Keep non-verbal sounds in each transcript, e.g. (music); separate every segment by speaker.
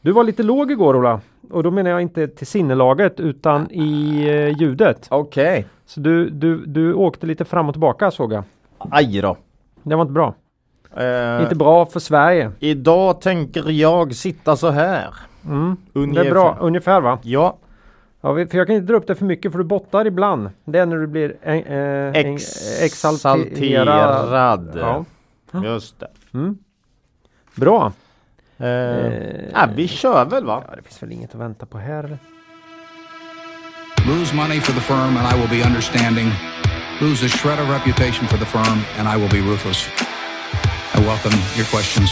Speaker 1: Du var lite låg igår Ola. Och då menar jag inte till sinnelaget utan i eh, ljudet.
Speaker 2: Okej.
Speaker 1: Så du, du, du åkte lite fram och tillbaka såg jag.
Speaker 2: Aj då.
Speaker 1: Det var inte bra.
Speaker 2: Eh,
Speaker 1: Inte bra för Sverige.
Speaker 2: Idag tänker jag sitta så här.
Speaker 1: Mm. Det
Speaker 2: Ungefär.
Speaker 1: är bra, ungefär va?
Speaker 2: Ja,
Speaker 1: Ja, vi- för jag kan inte dra upp det för mycket för du bottar ibland. Det är när du blir eh, eh, en- eh, exalterad.
Speaker 2: exalterad.
Speaker 1: Ja. Mm.
Speaker 2: Just det.
Speaker 1: Bra.
Speaker 2: Eh,
Speaker 1: Eh,
Speaker 2: ja, vi kör väl va?
Speaker 1: ja, det finns väl inget att vänta på här eller?
Speaker 3: Lose money for the firm, and I will be understanding. Lose a shred of reputation for the firm, and I will be ruthless. I welcome your questions.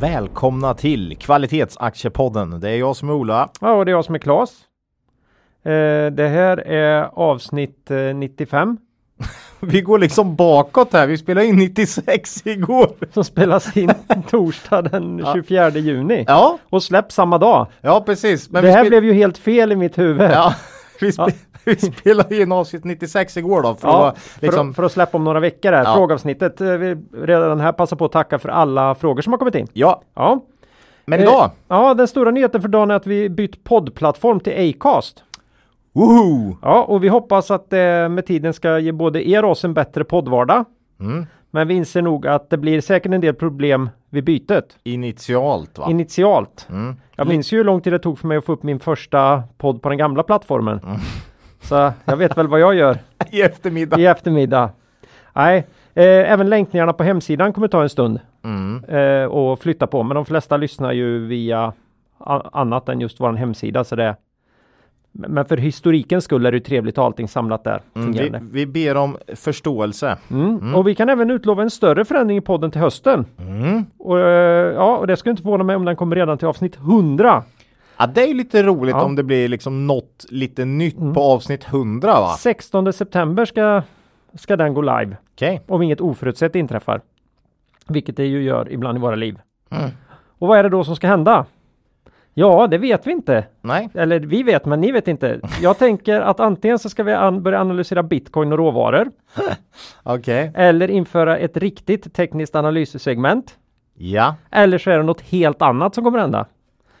Speaker 2: Välkomna till Kvalitetsaktiepodden. Det är jag som är Ola.
Speaker 1: Ja, och det är jag som är Klas. Eh, det här är avsnitt eh, 95
Speaker 2: Vi går liksom bakåt här. Vi spelade in 96 igår.
Speaker 1: som spelas
Speaker 2: (laughs)
Speaker 1: in torsdag den 24 juni
Speaker 2: Ja,
Speaker 1: och släpps samma dag.
Speaker 2: ja precis. Men
Speaker 1: det
Speaker 2: vi
Speaker 1: här
Speaker 2: spel-
Speaker 1: blev ju helt fel i mitt huvud.
Speaker 2: Ja, (laughs) vi, spe... vi spelade in avsnitt 96 igår då. För
Speaker 1: Ja,
Speaker 2: att,
Speaker 1: för,
Speaker 2: liksom...
Speaker 1: att, för att släppa om några veckor här.
Speaker 2: Ja.
Speaker 1: Frågeavsnittet. eh, Vi redan här passar på att tacka för alla frågor som har kommit in.
Speaker 2: Ja,
Speaker 1: Ja.
Speaker 2: men idag.
Speaker 1: Eh, ja, den stora nyheten för dagen är att vi bytt poddplattform till Acast.
Speaker 2: Woho!
Speaker 1: Ja, och vi hoppas att det med tiden ska ge både er och oss en bättre poddvardag.
Speaker 2: Mm.
Speaker 1: Men vi inser nog att det blir säkert en del problem vid bytet
Speaker 2: Initialt va?
Speaker 1: initialt.
Speaker 2: Mm.
Speaker 1: Jag minns ju hur lång tid det tog för mig att få upp min första podd på den gamla plattformen.
Speaker 2: Mm.
Speaker 1: Så jag vet väl vad jag gör
Speaker 2: I
Speaker 1: (laughs)
Speaker 2: eftermiddag.
Speaker 1: i eftermiddag. Nej, eh, även länkningarna på hemsidan kommer ta en stund
Speaker 2: Mm.
Speaker 1: eh, och flytta på. Men de flesta lyssnar ju via a- annat än just vår hemsida. Så det, men men för historikens skull är det ju trevligt att ha allting samlat där.
Speaker 2: Mm, vi,
Speaker 1: fungerande.
Speaker 2: vi ber om förståelse.
Speaker 1: Mm. Och vi kan även utlova en större förändring i podden till hösten.
Speaker 2: Mm.
Speaker 1: Och, eh, ja, och det skulle inte förvåna mig om den kommer redan till avsnitt 100.
Speaker 2: Ja, det är ju lite roligt
Speaker 1: Ja. Mm.
Speaker 2: om det blir liksom något lite nytt på avsnitt 100 va?
Speaker 1: 16 september ska, ska den gå live
Speaker 2: Okej.
Speaker 1: om inget oförutsett inträffar. Vilket det ju gör ibland i våra liv. Och vad är det då som ska hända? Ja, det vet vi inte.
Speaker 2: Nej.
Speaker 1: Eller vi vet, men ni vet inte. Jag tänker att antingen så ska vi an- börja analysera bitcoin och råvaror
Speaker 2: Okej.
Speaker 1: eller införa ett riktigt tekniskt analyssegment.
Speaker 2: Ja.
Speaker 1: Eller så är det något helt annat som kommer hända.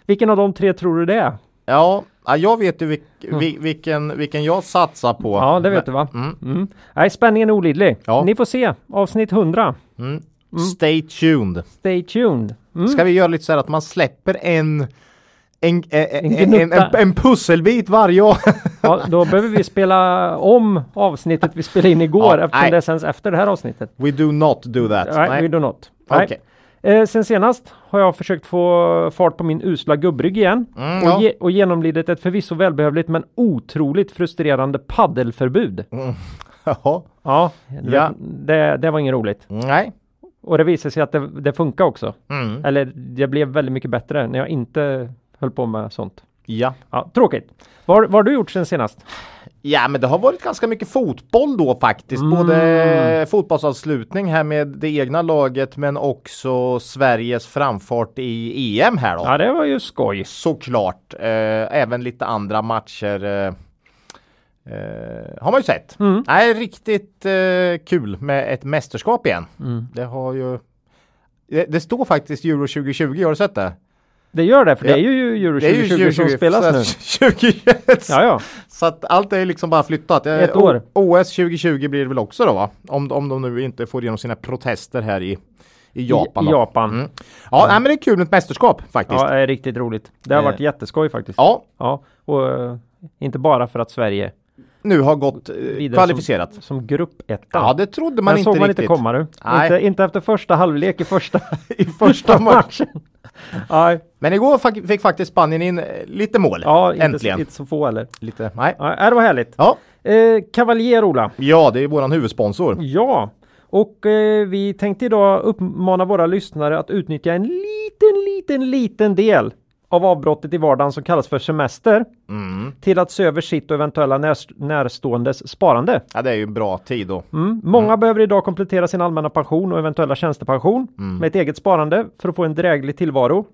Speaker 1: Vilken av de tre tror du det är?
Speaker 2: Ja. ja, jag vet ju vilk, vil- vilken, vilken jag satsar på.
Speaker 1: Mm. Ja, det vet du va? Mm. Nej, spänningen är olidlig.
Speaker 2: Ja.
Speaker 1: Ni får se avsnitt 100.
Speaker 2: Stay tuned.
Speaker 1: Stay tuned. Mm.
Speaker 2: Ska vi göra lite så här att man släpper en en, en,
Speaker 1: En
Speaker 2: en, en,
Speaker 1: gnutta.
Speaker 2: en, en pusselbit varje år. (laughs)
Speaker 1: Ja, då behöver vi spela om avsnittet vi spelade in igår
Speaker 2: Ja,
Speaker 1: eftersom
Speaker 2: nej.
Speaker 1: det sänds efter det här avsnittet.
Speaker 2: We do not do that.
Speaker 1: Nej, we do not. Nej.
Speaker 2: Okej.
Speaker 1: Eh, sen senast har jag försökt få fart på min usla gubbrygg igen
Speaker 2: Mm,
Speaker 1: och,
Speaker 2: ja.
Speaker 1: ge- och genomlidit ett förvisso välbehövligt men otroligt frustrerande paddelförbud.
Speaker 2: Jaha.
Speaker 1: Ja, du
Speaker 2: Mm. Ja.
Speaker 1: vet, Det, det var inget roligt.
Speaker 2: Nej.
Speaker 1: Och det visade sig att det, det funkar också.
Speaker 2: Mm.
Speaker 1: Eller det blev väldigt mycket bättre när jag inte höll på med sånt.
Speaker 2: Ja.
Speaker 1: Ja, tråkigt. Vad, har- vad har du gjort sen senast?
Speaker 2: Ja men det har varit ganska mycket fotboll då faktiskt.
Speaker 1: Mm.
Speaker 2: Både fotbollsavslutning här med det egna laget men också Sveriges framfart i EM här då.
Speaker 1: Ja, det var ju skoj.
Speaker 2: Såklart. Eh, även lite andra matcher eh, eh, har man ju sett.
Speaker 1: Mm.
Speaker 2: Nej, riktigt eh, kul med ett mästerskap igen.
Speaker 1: Mm.
Speaker 2: Det har ju det, det står faktiskt Euro 2020, har du sett det?
Speaker 1: Det gör det, för det är
Speaker 2: Ja.
Speaker 1: ju Euro
Speaker 2: Det är ju
Speaker 1: 2020 som spelas nu.
Speaker 2: 2021.
Speaker 1: Ja, ja.
Speaker 2: Så att allt är ju liksom bara flyttat. Eh,
Speaker 1: Ett år.
Speaker 2: O- OS 2020 blir det väl också då va? Om, om de nu inte får igenom sina protester här i, i Japan.
Speaker 1: I,
Speaker 2: då.
Speaker 1: Japan.
Speaker 2: Mm. Ja, nej, men det är kul med ett mästerskap faktiskt.
Speaker 1: Ja,
Speaker 2: Ja,
Speaker 1: det är riktigt roligt. Det har
Speaker 2: Eh.
Speaker 1: varit jätteskoj faktiskt. Ja, och eh, inte bara för att Sverige
Speaker 2: nu har gått eh,
Speaker 1: vidare
Speaker 2: kvalificerat.
Speaker 1: som, som gruppetta.
Speaker 2: Ja, det trodde man
Speaker 1: Men
Speaker 2: inte
Speaker 1: såg man
Speaker 2: riktigt.
Speaker 1: inte komma du.
Speaker 2: Nej.
Speaker 1: Inte, inte efter första halvlek i
Speaker 2: (laughs)
Speaker 1: första,
Speaker 2: I första matchen.
Speaker 1: Nej,
Speaker 2: Men igår fack- fick faktiskt Spanien in eh, lite mål.
Speaker 1: ja, inte, så,
Speaker 2: Äntligen.
Speaker 1: inte så få eller.
Speaker 2: Lite, nej.
Speaker 1: Ja, äh, det var härligt.
Speaker 2: Ja.
Speaker 1: Eh, Cavalier Ola.
Speaker 2: ja, det är våran huvudsponsor.
Speaker 1: Ja, och eh, vi tänkte idag uppmana våra lyssnare att utnyttja en liten, liten, liten del av avbrottet i vardagen som kallas för semester
Speaker 2: Mm.
Speaker 1: till att se över sitt och eventuella när- närståendes sparande.
Speaker 2: Ja, det är ju bra tid då.
Speaker 1: Mm. Många behöver idag komplettera sin allmänna pension och eventuella tjänstepension med ett eget sparande för att få en dräglig tillvaro.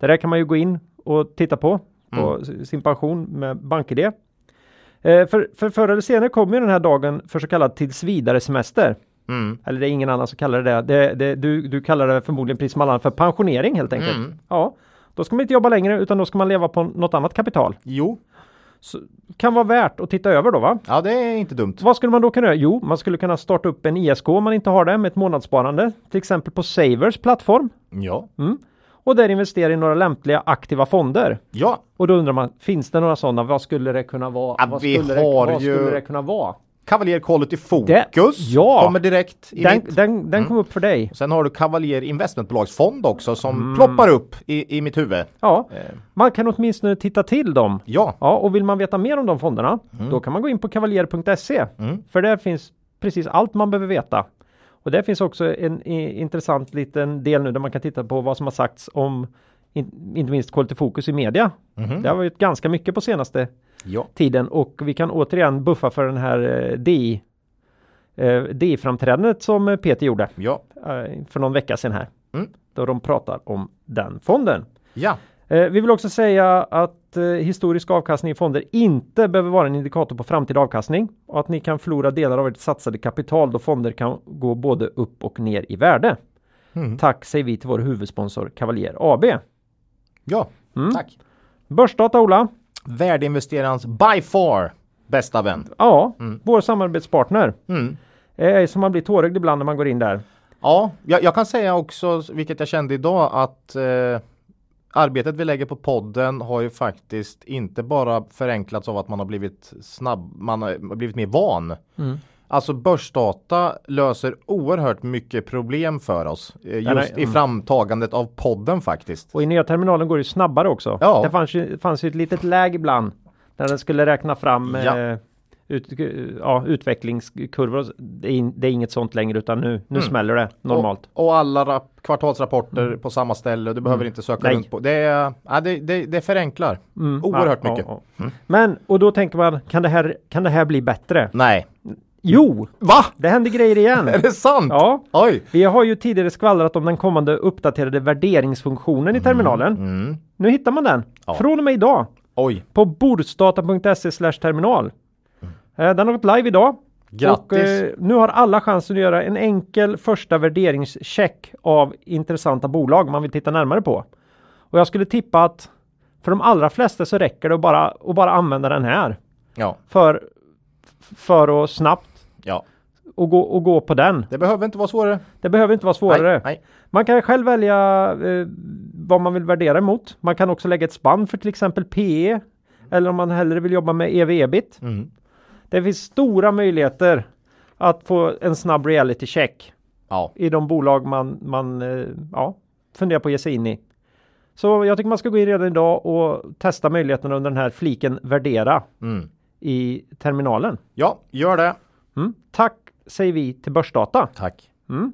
Speaker 1: Det där kan man ju gå in och titta på, på sin pension med BankID. Eh, för, för förr eller senare kommer ju den här dagen för så kallad tills vidare semester.
Speaker 2: Mm.
Speaker 1: Eller det är ingen annan som kallar det det. det, det du, du kallar det förmodligen precis som alla andra för pensionering helt enkelt.
Speaker 2: Mm.
Speaker 1: Ja, då ska man inte jobba längre utan då ska man leva på något annat kapital.
Speaker 2: Jo,
Speaker 1: Kan vara värt att titta över då va?
Speaker 2: ja det är inte dumt.
Speaker 1: Vad skulle man då kunna göra? Jo, man skulle kunna starta upp en ISK om man inte har det med ett månadssparande. Till exempel på Savers plattform.
Speaker 2: Ja,
Speaker 1: Och där investera i några lämpliga aktiva fonder.
Speaker 2: ja.
Speaker 1: Och då undrar man, finns det några sådana? Vad skulle det kunna vara?
Speaker 2: Ja,
Speaker 1: vad
Speaker 2: vi
Speaker 1: skulle,
Speaker 2: har
Speaker 1: det, vad
Speaker 2: ju-
Speaker 1: skulle det kunna vara?
Speaker 2: Kavaljer Quality Focus
Speaker 1: Det- ja.
Speaker 2: kommer direkt i
Speaker 1: Den,
Speaker 2: mitt. Mm.
Speaker 1: den, den kom upp för dig.
Speaker 2: Sen har du Kavaljer Investmentbolagsfond också som
Speaker 1: Mm.
Speaker 2: ploppar upp i, i mitt huvud.
Speaker 1: Ja,
Speaker 2: Eh.
Speaker 1: man kan åtminstone titta till dem.
Speaker 2: Ja,
Speaker 1: Ja, och vill man veta mer om de fonderna, då kan man gå in på kavaljer.se. För där finns precis allt man behöver veta. Och där finns också en i, intressant liten del nu där man kan titta på vad som har sagts om in, inte minst Quality Focus i media.
Speaker 2: Mhm.
Speaker 1: Det har varit ganska mycket på senaste
Speaker 2: ja.
Speaker 1: tiden och vi kan återigen buffa för den här eh, DI eh, DI-framträdandet som eh, Peter gjorde
Speaker 2: ja.
Speaker 1: eh, för någon vecka sedan här.
Speaker 2: Mm.
Speaker 1: Då de pratar om den fonden.
Speaker 2: ja.
Speaker 1: Eh, Vi vill också säga att eh, historisk avkastning i fonder inte behöver vara en indikator på framtida avkastning och att ni kan förlora delar av ert satsade kapital då fonder kan gå både upp och ner i värde. Tack säger vi till vår huvudsponsor Cavalier AB.
Speaker 2: Ja,
Speaker 1: Mm.
Speaker 2: tack.
Speaker 1: Börsdata Ola.
Speaker 2: Värdeinvesterarens by far bästa vän.
Speaker 1: Ja, vår samarbetspartner.
Speaker 2: Mm.
Speaker 1: Eh, som man blir tårögd ibland när man går in där.
Speaker 2: Ja, jag, jag kan säga också, vilket jag kände idag, att eh, arbetet vi lägger på podden har ju faktiskt inte bara förenklats av att man har blivit snabb, man har blivit mer van.
Speaker 1: Mm.
Speaker 2: Alltså börsdata löser oerhört mycket problem för oss. eh, Just
Speaker 1: Den är-
Speaker 2: i
Speaker 1: mm.
Speaker 2: framtagandet av podden faktiskt.
Speaker 1: Och i nya terminalen går det ju snabbare också.
Speaker 2: Ja.
Speaker 1: Det fanns ju, fanns ju ett litet läge ibland när den skulle räkna fram
Speaker 2: Ja.
Speaker 1: eh, ut, ja, utvecklingskurvor. och så. Det är, in- det är inget sånt längre utan nu, nu
Speaker 2: Mm.
Speaker 1: smäller det normalt. Mm.
Speaker 2: Och, och alla rap- kvartalsrapporter på samma ställe. Du behöver inte söka
Speaker 1: Nej. Mm.
Speaker 2: runt på. Det, är, ja, det, det, det förenklar oerhört
Speaker 1: Ja,
Speaker 2: mycket. Mm.
Speaker 1: ja, ja. Men, och då tänker man, kan det här, kan det här bli bättre?
Speaker 2: Nej.
Speaker 1: Jo,
Speaker 2: Va?
Speaker 1: det händer grejer
Speaker 2: (laughs)
Speaker 1: igen.
Speaker 2: Är (laughs) det sant?
Speaker 1: Ja.
Speaker 2: Oj.
Speaker 1: Vi har ju tidigare skvallrat om den kommande uppdaterade värderingsfunktionen i
Speaker 2: Mm,
Speaker 1: terminalen. Nu hittar man den. Från och med idag.
Speaker 2: Oj.
Speaker 1: på bordsdata.se E terminal. Eh, Den har gått live idag.
Speaker 2: Mm. Grattis.
Speaker 1: Och, eh, nu har alla chansen att göra en enkel första värderingscheck av intressanta bolag man vill titta närmare på. Och jag skulle tippa att för de allra flesta så räcker det att bara, att bara använda den här
Speaker 2: Ja.
Speaker 1: för, för att snabbt
Speaker 2: Ja.
Speaker 1: och gå, och gå på den.
Speaker 2: Det behöver inte vara svårare.
Speaker 1: Det behöver inte vara svårare.
Speaker 2: Nej, nej.
Speaker 1: Man kan själv välja eh, vad man vill värdera emot. Man kan också lägga ett spann för till exempel PE eller om man hellre vill jobba med EV-EBIT.
Speaker 2: Mm.
Speaker 1: Det finns stora möjligheter att få en snabb reality check
Speaker 2: Ja.
Speaker 1: i de bolag man, man eh, ja, funderar på att ge sig in i. Så jag tycker man ska gå in redan idag och testa möjligheterna under den här fliken värdera
Speaker 2: Mm.
Speaker 1: i terminalen.
Speaker 2: Ja, gör det.
Speaker 1: Mm. Tack säger vi till Börsdata.
Speaker 2: Tack.
Speaker 1: Mm.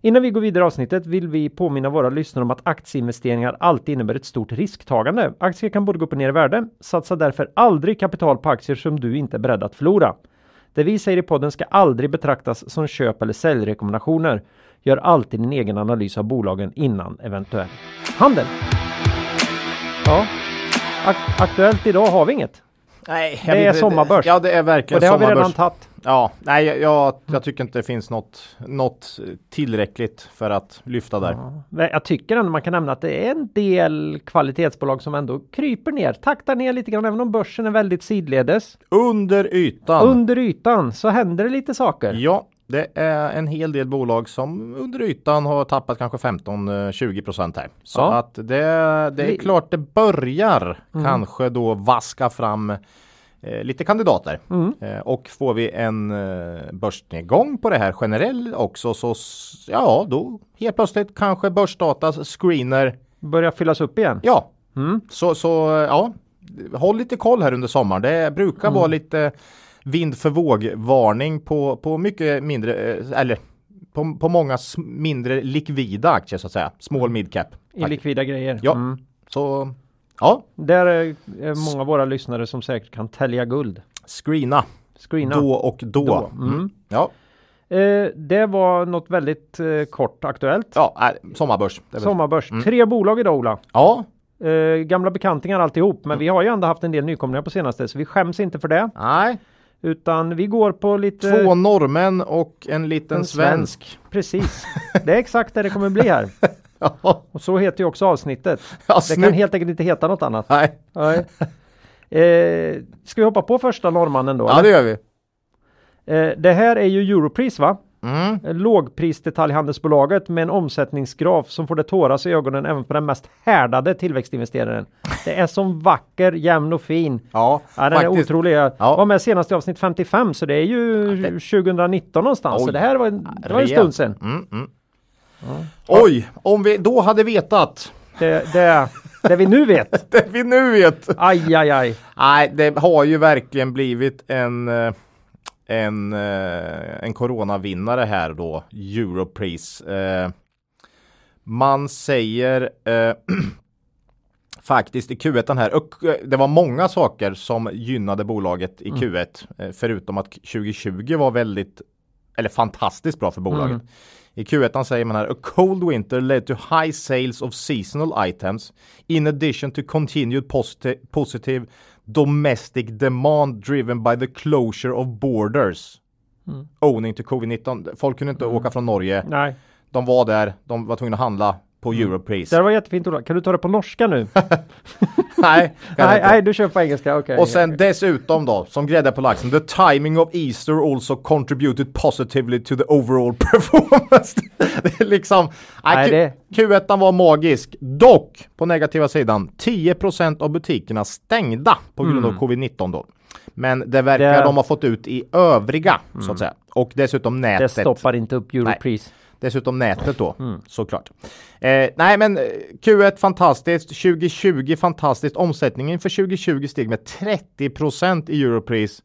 Speaker 1: Innan vi går vidare i avsnittet vill vi påminna våra lyssnare om att aktieinvesteringar alltid innebär ett stort risktagande. Aktier kan både gå upp och ner i värde. Satsa därför aldrig kapital på aktier som du inte är beredd att förlora. Det vi säger i podden ska aldrig betraktas som köp eller säljrekommendationer. Gör alltid din egen analys av bolagen innan eventuell handel. Ja, ak- aktuellt idag har vi inget.
Speaker 2: Nej,
Speaker 1: Det är sommarbörs.
Speaker 2: Ja, det är
Speaker 1: Och
Speaker 2: verkligen
Speaker 1: det har vi
Speaker 2: sommarbörs.
Speaker 1: redan tagit.
Speaker 2: Ja, nej, jag- jag, jag tycker inte det finns något, något tillräckligt för att lyfta där.
Speaker 1: Men Jag tycker ändå man kan nämna att det är en del kvalitetsbolag som ändå kryper ner, taktar ner lite grann, även om börsen är väldigt sidledes.
Speaker 2: Under ytan.
Speaker 1: Under ytan så händer det lite saker.
Speaker 2: ja, det är en hel del bolag som under ytan har tappat kanske 15-20 procent här. Så
Speaker 1: Ja.
Speaker 2: att det, det är
Speaker 1: Vi- Mm.
Speaker 2: klart det börjar kanske då vaska fram eh, lite kandidater.
Speaker 1: Mm.
Speaker 2: Eh, och får vi en eh, börsnedgång på det här generellt också så s- ja, då helt plötsligt kanske börsdatas screener
Speaker 1: Börjar fyllas upp igen.
Speaker 2: Ja,
Speaker 1: Mm.
Speaker 2: så, så ja, håll lite koll här under sommaren. Det brukar
Speaker 1: Mm.
Speaker 2: vara lite vind för våg-varning på, på mycket mindre, eh, eller på, på många s- mindre likvida aktier så att säga. Small mid cap.
Speaker 1: Mm. I likvida grejer.
Speaker 2: Ja,
Speaker 1: Mm.
Speaker 2: så ja,
Speaker 1: Där är är många av våra lyssnare som säkert kan tälja guld.
Speaker 2: screena
Speaker 1: Screena.
Speaker 2: då och då.
Speaker 1: Då,
Speaker 2: Mm. Ja,
Speaker 1: Eh, det var något väldigt eh, kort aktuellt.
Speaker 2: ja, äh, sommarbörs. Det är väl-
Speaker 1: Sommarbörs. Tre bolag idag Ola.
Speaker 2: Ja,
Speaker 1: Eh, gamla bekantingar alltihop,
Speaker 2: Mm.
Speaker 1: men vi har ju ändå haft en del nykomlingar på senaste, så vi skäms inte för det.
Speaker 2: Nej,
Speaker 1: Utan vi går på lite...
Speaker 2: två norrmän och en liten
Speaker 1: Äh. en svensk.
Speaker 2: svensk. (laughs)
Speaker 1: Precis. Det är exakt det det kommer bli här.
Speaker 2: Ja,
Speaker 1: Och så heter ju också avsnittet.
Speaker 2: ja,
Speaker 1: Det kan
Speaker 2: snyggt.
Speaker 1: helt enkelt inte heta något annat.
Speaker 2: (laughs) Nej.
Speaker 1: Nej. Eh, ska vi hoppa på första norrmannen då?
Speaker 2: Ja, det
Speaker 1: eller?
Speaker 2: gör vi.
Speaker 1: Eh, det här är ju Europris va?
Speaker 2: Mm.
Speaker 1: Eh, Lågprisdetaljhandelsbolaget med en omsättningsgraf som får det tåras i ögonen även på den mest härdade tillväxtinvesteraren. Det är som vacker, jämn och fin.
Speaker 2: Ja,
Speaker 1: Ja, den är
Speaker 2: faktiskt.
Speaker 1: otrolig. Jag
Speaker 2: Ja.
Speaker 1: var med senast i avsnitt 55 så det är ju 2019 någonstans. Så
Speaker 2: Oj.
Speaker 1: det här var, en- det var en
Speaker 2: Rejält.
Speaker 1: stund sedan.
Speaker 2: Mm, mm. Oj, om vi då hade vetat
Speaker 1: Det, det, det vi nu vet.
Speaker 2: (laughs) det vi nu vet.
Speaker 1: Aj, aj, aj.
Speaker 2: Nej, det har ju verkligen blivit en eh, en, eh, en coronavinnare här då, Europris. Eh, Man säger eh, (clears throat) faktiskt i Q1 den här, och eh, det var många saker som gynnade bolaget i Q1, eh, förutom att 2020 var väldigt, eller fantastiskt bra för bolaget. I Q1 säger man här, a cold winter led to high sales of seasonal items in addition to continued posit- positive domestic demand driven by the closure of borders. Owning to covid-19. Folk kunde inte åka från Norge.
Speaker 1: Nej.
Speaker 2: De var där, de var tvungna att handla på
Speaker 1: Mm.
Speaker 2: Europris.
Speaker 1: Det här var jättefint Ola. Kan du ta det på norska nu?
Speaker 2: nej, kan
Speaker 1: nej,
Speaker 2: inte.
Speaker 1: nej, du kör på engelska. Okej.
Speaker 2: Och sen dessutom då, som grädde på laxen, the timing of Easter also contributed positively to the overall (laughs) performance. det är liksom,
Speaker 1: Nej,
Speaker 2: nej, Q- Q1 var magisk. Dock, på negativa sidan, 10% av butikerna stängda på grund av covid-19 då. Men det verkar
Speaker 1: Mm. Det- Mm.
Speaker 2: de ha fått ut i övriga, så att säga. Och dessutom
Speaker 1: det
Speaker 2: nätet.
Speaker 1: stoppar inte upp Europris.
Speaker 2: Dessutom nätet då,
Speaker 1: Mm.
Speaker 2: såklart. Eh, nej men eh, Q1 fantastiskt, 2020 fantastiskt. Omsättningen för 2020 steg med 30% i europris.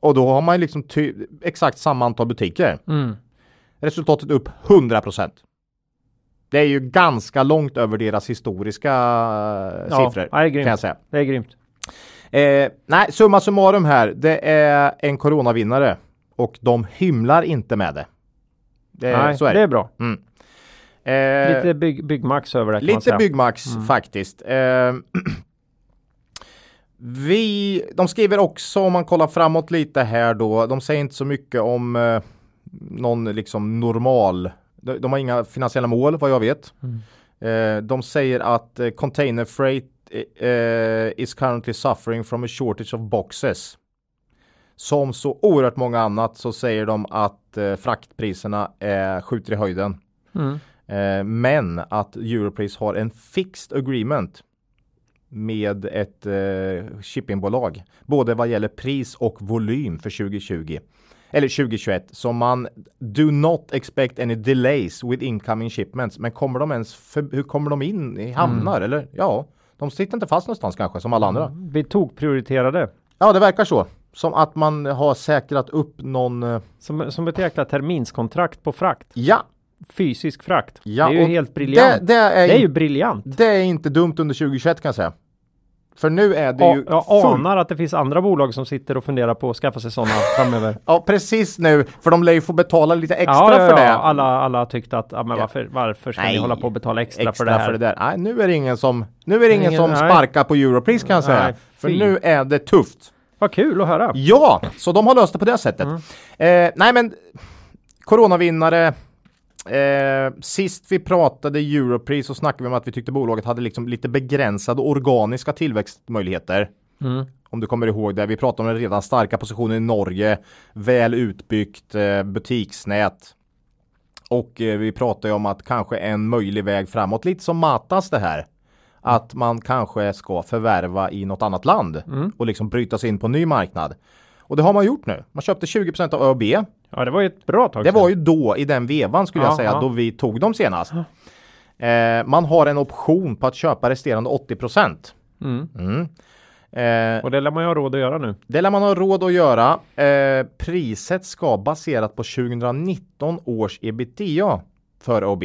Speaker 2: Och då har man ju liksom ty- exakt samma antal butiker.
Speaker 1: Mm.
Speaker 2: Resultatet upp 100%. Det är ju ganska långt över deras historiska eh,
Speaker 1: Ja,
Speaker 2: siffror.
Speaker 1: det är grymt.
Speaker 2: kan jag säga.
Speaker 1: Det är grymt.
Speaker 2: Eh, nej, summa summarum här. Det är en coronavinnare. Och de hymlar inte med det. det
Speaker 1: nej,
Speaker 2: så är det.
Speaker 1: det är bra.
Speaker 2: Eh,
Speaker 1: Lite bygg, byggmax över det kan man
Speaker 2: Lite
Speaker 1: säga. Mm.
Speaker 2: Byggmax faktiskt. Eh, (clears throat) vi, de skriver också om man kollar framåt lite här då. De säger inte så mycket om eh, någon liksom normal. De, de har inga finansiella mål vad jag vet.
Speaker 1: Mm.
Speaker 2: Eh, de säger att eh, container freight eh, eh, is currently suffering from a shortage of boxes. Som så oerhört många annat så säger de att eh, fraktpriserna eh, skjuter i höjden.
Speaker 1: Mm.
Speaker 2: Eh, men att Europris har en fixed agreement med ett eh, shippingbolag. Både vad gäller pris och volym för 2020. Eller 2021. Så man do not expect any delays with incoming shipments. Men kommer de ens, för, hur kommer de in i hamnar? Eller ja, de sitter inte fast någonstans kanske som alla andra.
Speaker 1: Mm. Vi tog prioriterade.
Speaker 2: Ja, det verkar så. Som att man har säkrat upp någon, eh,
Speaker 1: Som, som ett jäkla terminskontrakt på frakt.
Speaker 2: ja,
Speaker 1: Fysisk frakt.
Speaker 2: ja.
Speaker 1: det är ju
Speaker 2: och
Speaker 1: helt briljant.
Speaker 2: Det, det, är,
Speaker 1: Det är
Speaker 2: ju
Speaker 1: ju briljant.
Speaker 2: Det är inte dumt under 2021 kan jag säga. För nu är det ju
Speaker 1: Jag, jag
Speaker 2: full-
Speaker 1: anar att det finns andra bolag som sitter och funderar på att skaffa sig sådana framöver.
Speaker 2: Ja, precis nu. För de lär ju få betala lite (laughs) extra
Speaker 1: ja, ja,
Speaker 2: för det.
Speaker 1: ja. Alla, alla tyckte att ja, men
Speaker 2: Ja.
Speaker 1: varför, varför ska ni
Speaker 2: Nej.
Speaker 1: hålla på och betala extra,
Speaker 2: extra
Speaker 1: för det här?
Speaker 2: där. Nej, nu är det ingen som, nu är det ingen,
Speaker 1: Ingen-
Speaker 2: som
Speaker 1: nej.
Speaker 2: sparkar på Europris kan jag säga.
Speaker 1: Nej,
Speaker 2: för
Speaker 1: fy.
Speaker 2: nu är det tufft.
Speaker 1: Vad kul att höra.
Speaker 2: Ja, så de har löst det på det sättet. Eh, nej, men coronavinnare. Eh, sist vi pratade Europris så snackade vi om att vi tyckte bolaget hade liksom lite begränsade organiska tillväxtmöjligheter.
Speaker 1: Mm.
Speaker 2: Om du kommer ihåg det. Vi pratade om den redan starka positionen i Norge. Väl utbyggt eh, butiksnät. Och eh, vi pratade ju om att kanske en möjlig väg framåt, lite som matas det här. Att man kanske ska förvärva i något annat land
Speaker 1: Mm.
Speaker 2: och liksom bryta sig in på en ny marknad. Och det har man gjort nu. Man köpte 20% av ÖB.
Speaker 1: Ja, det var ju ett bra tag
Speaker 2: Det
Speaker 1: sedan.
Speaker 2: var ju då i den vevan skulle
Speaker 1: Ja,
Speaker 2: jag säga
Speaker 1: ja.
Speaker 2: då vi tog dem senast. Eh, man har en option på att köpa resterande 80%.
Speaker 1: Mm.
Speaker 2: Mm. Eh,
Speaker 1: Och det lär man ju ha råd att göra nu.
Speaker 2: det lär man ha råd att göra. Eh, priset ska baserat på 2019 års ebitda för OB.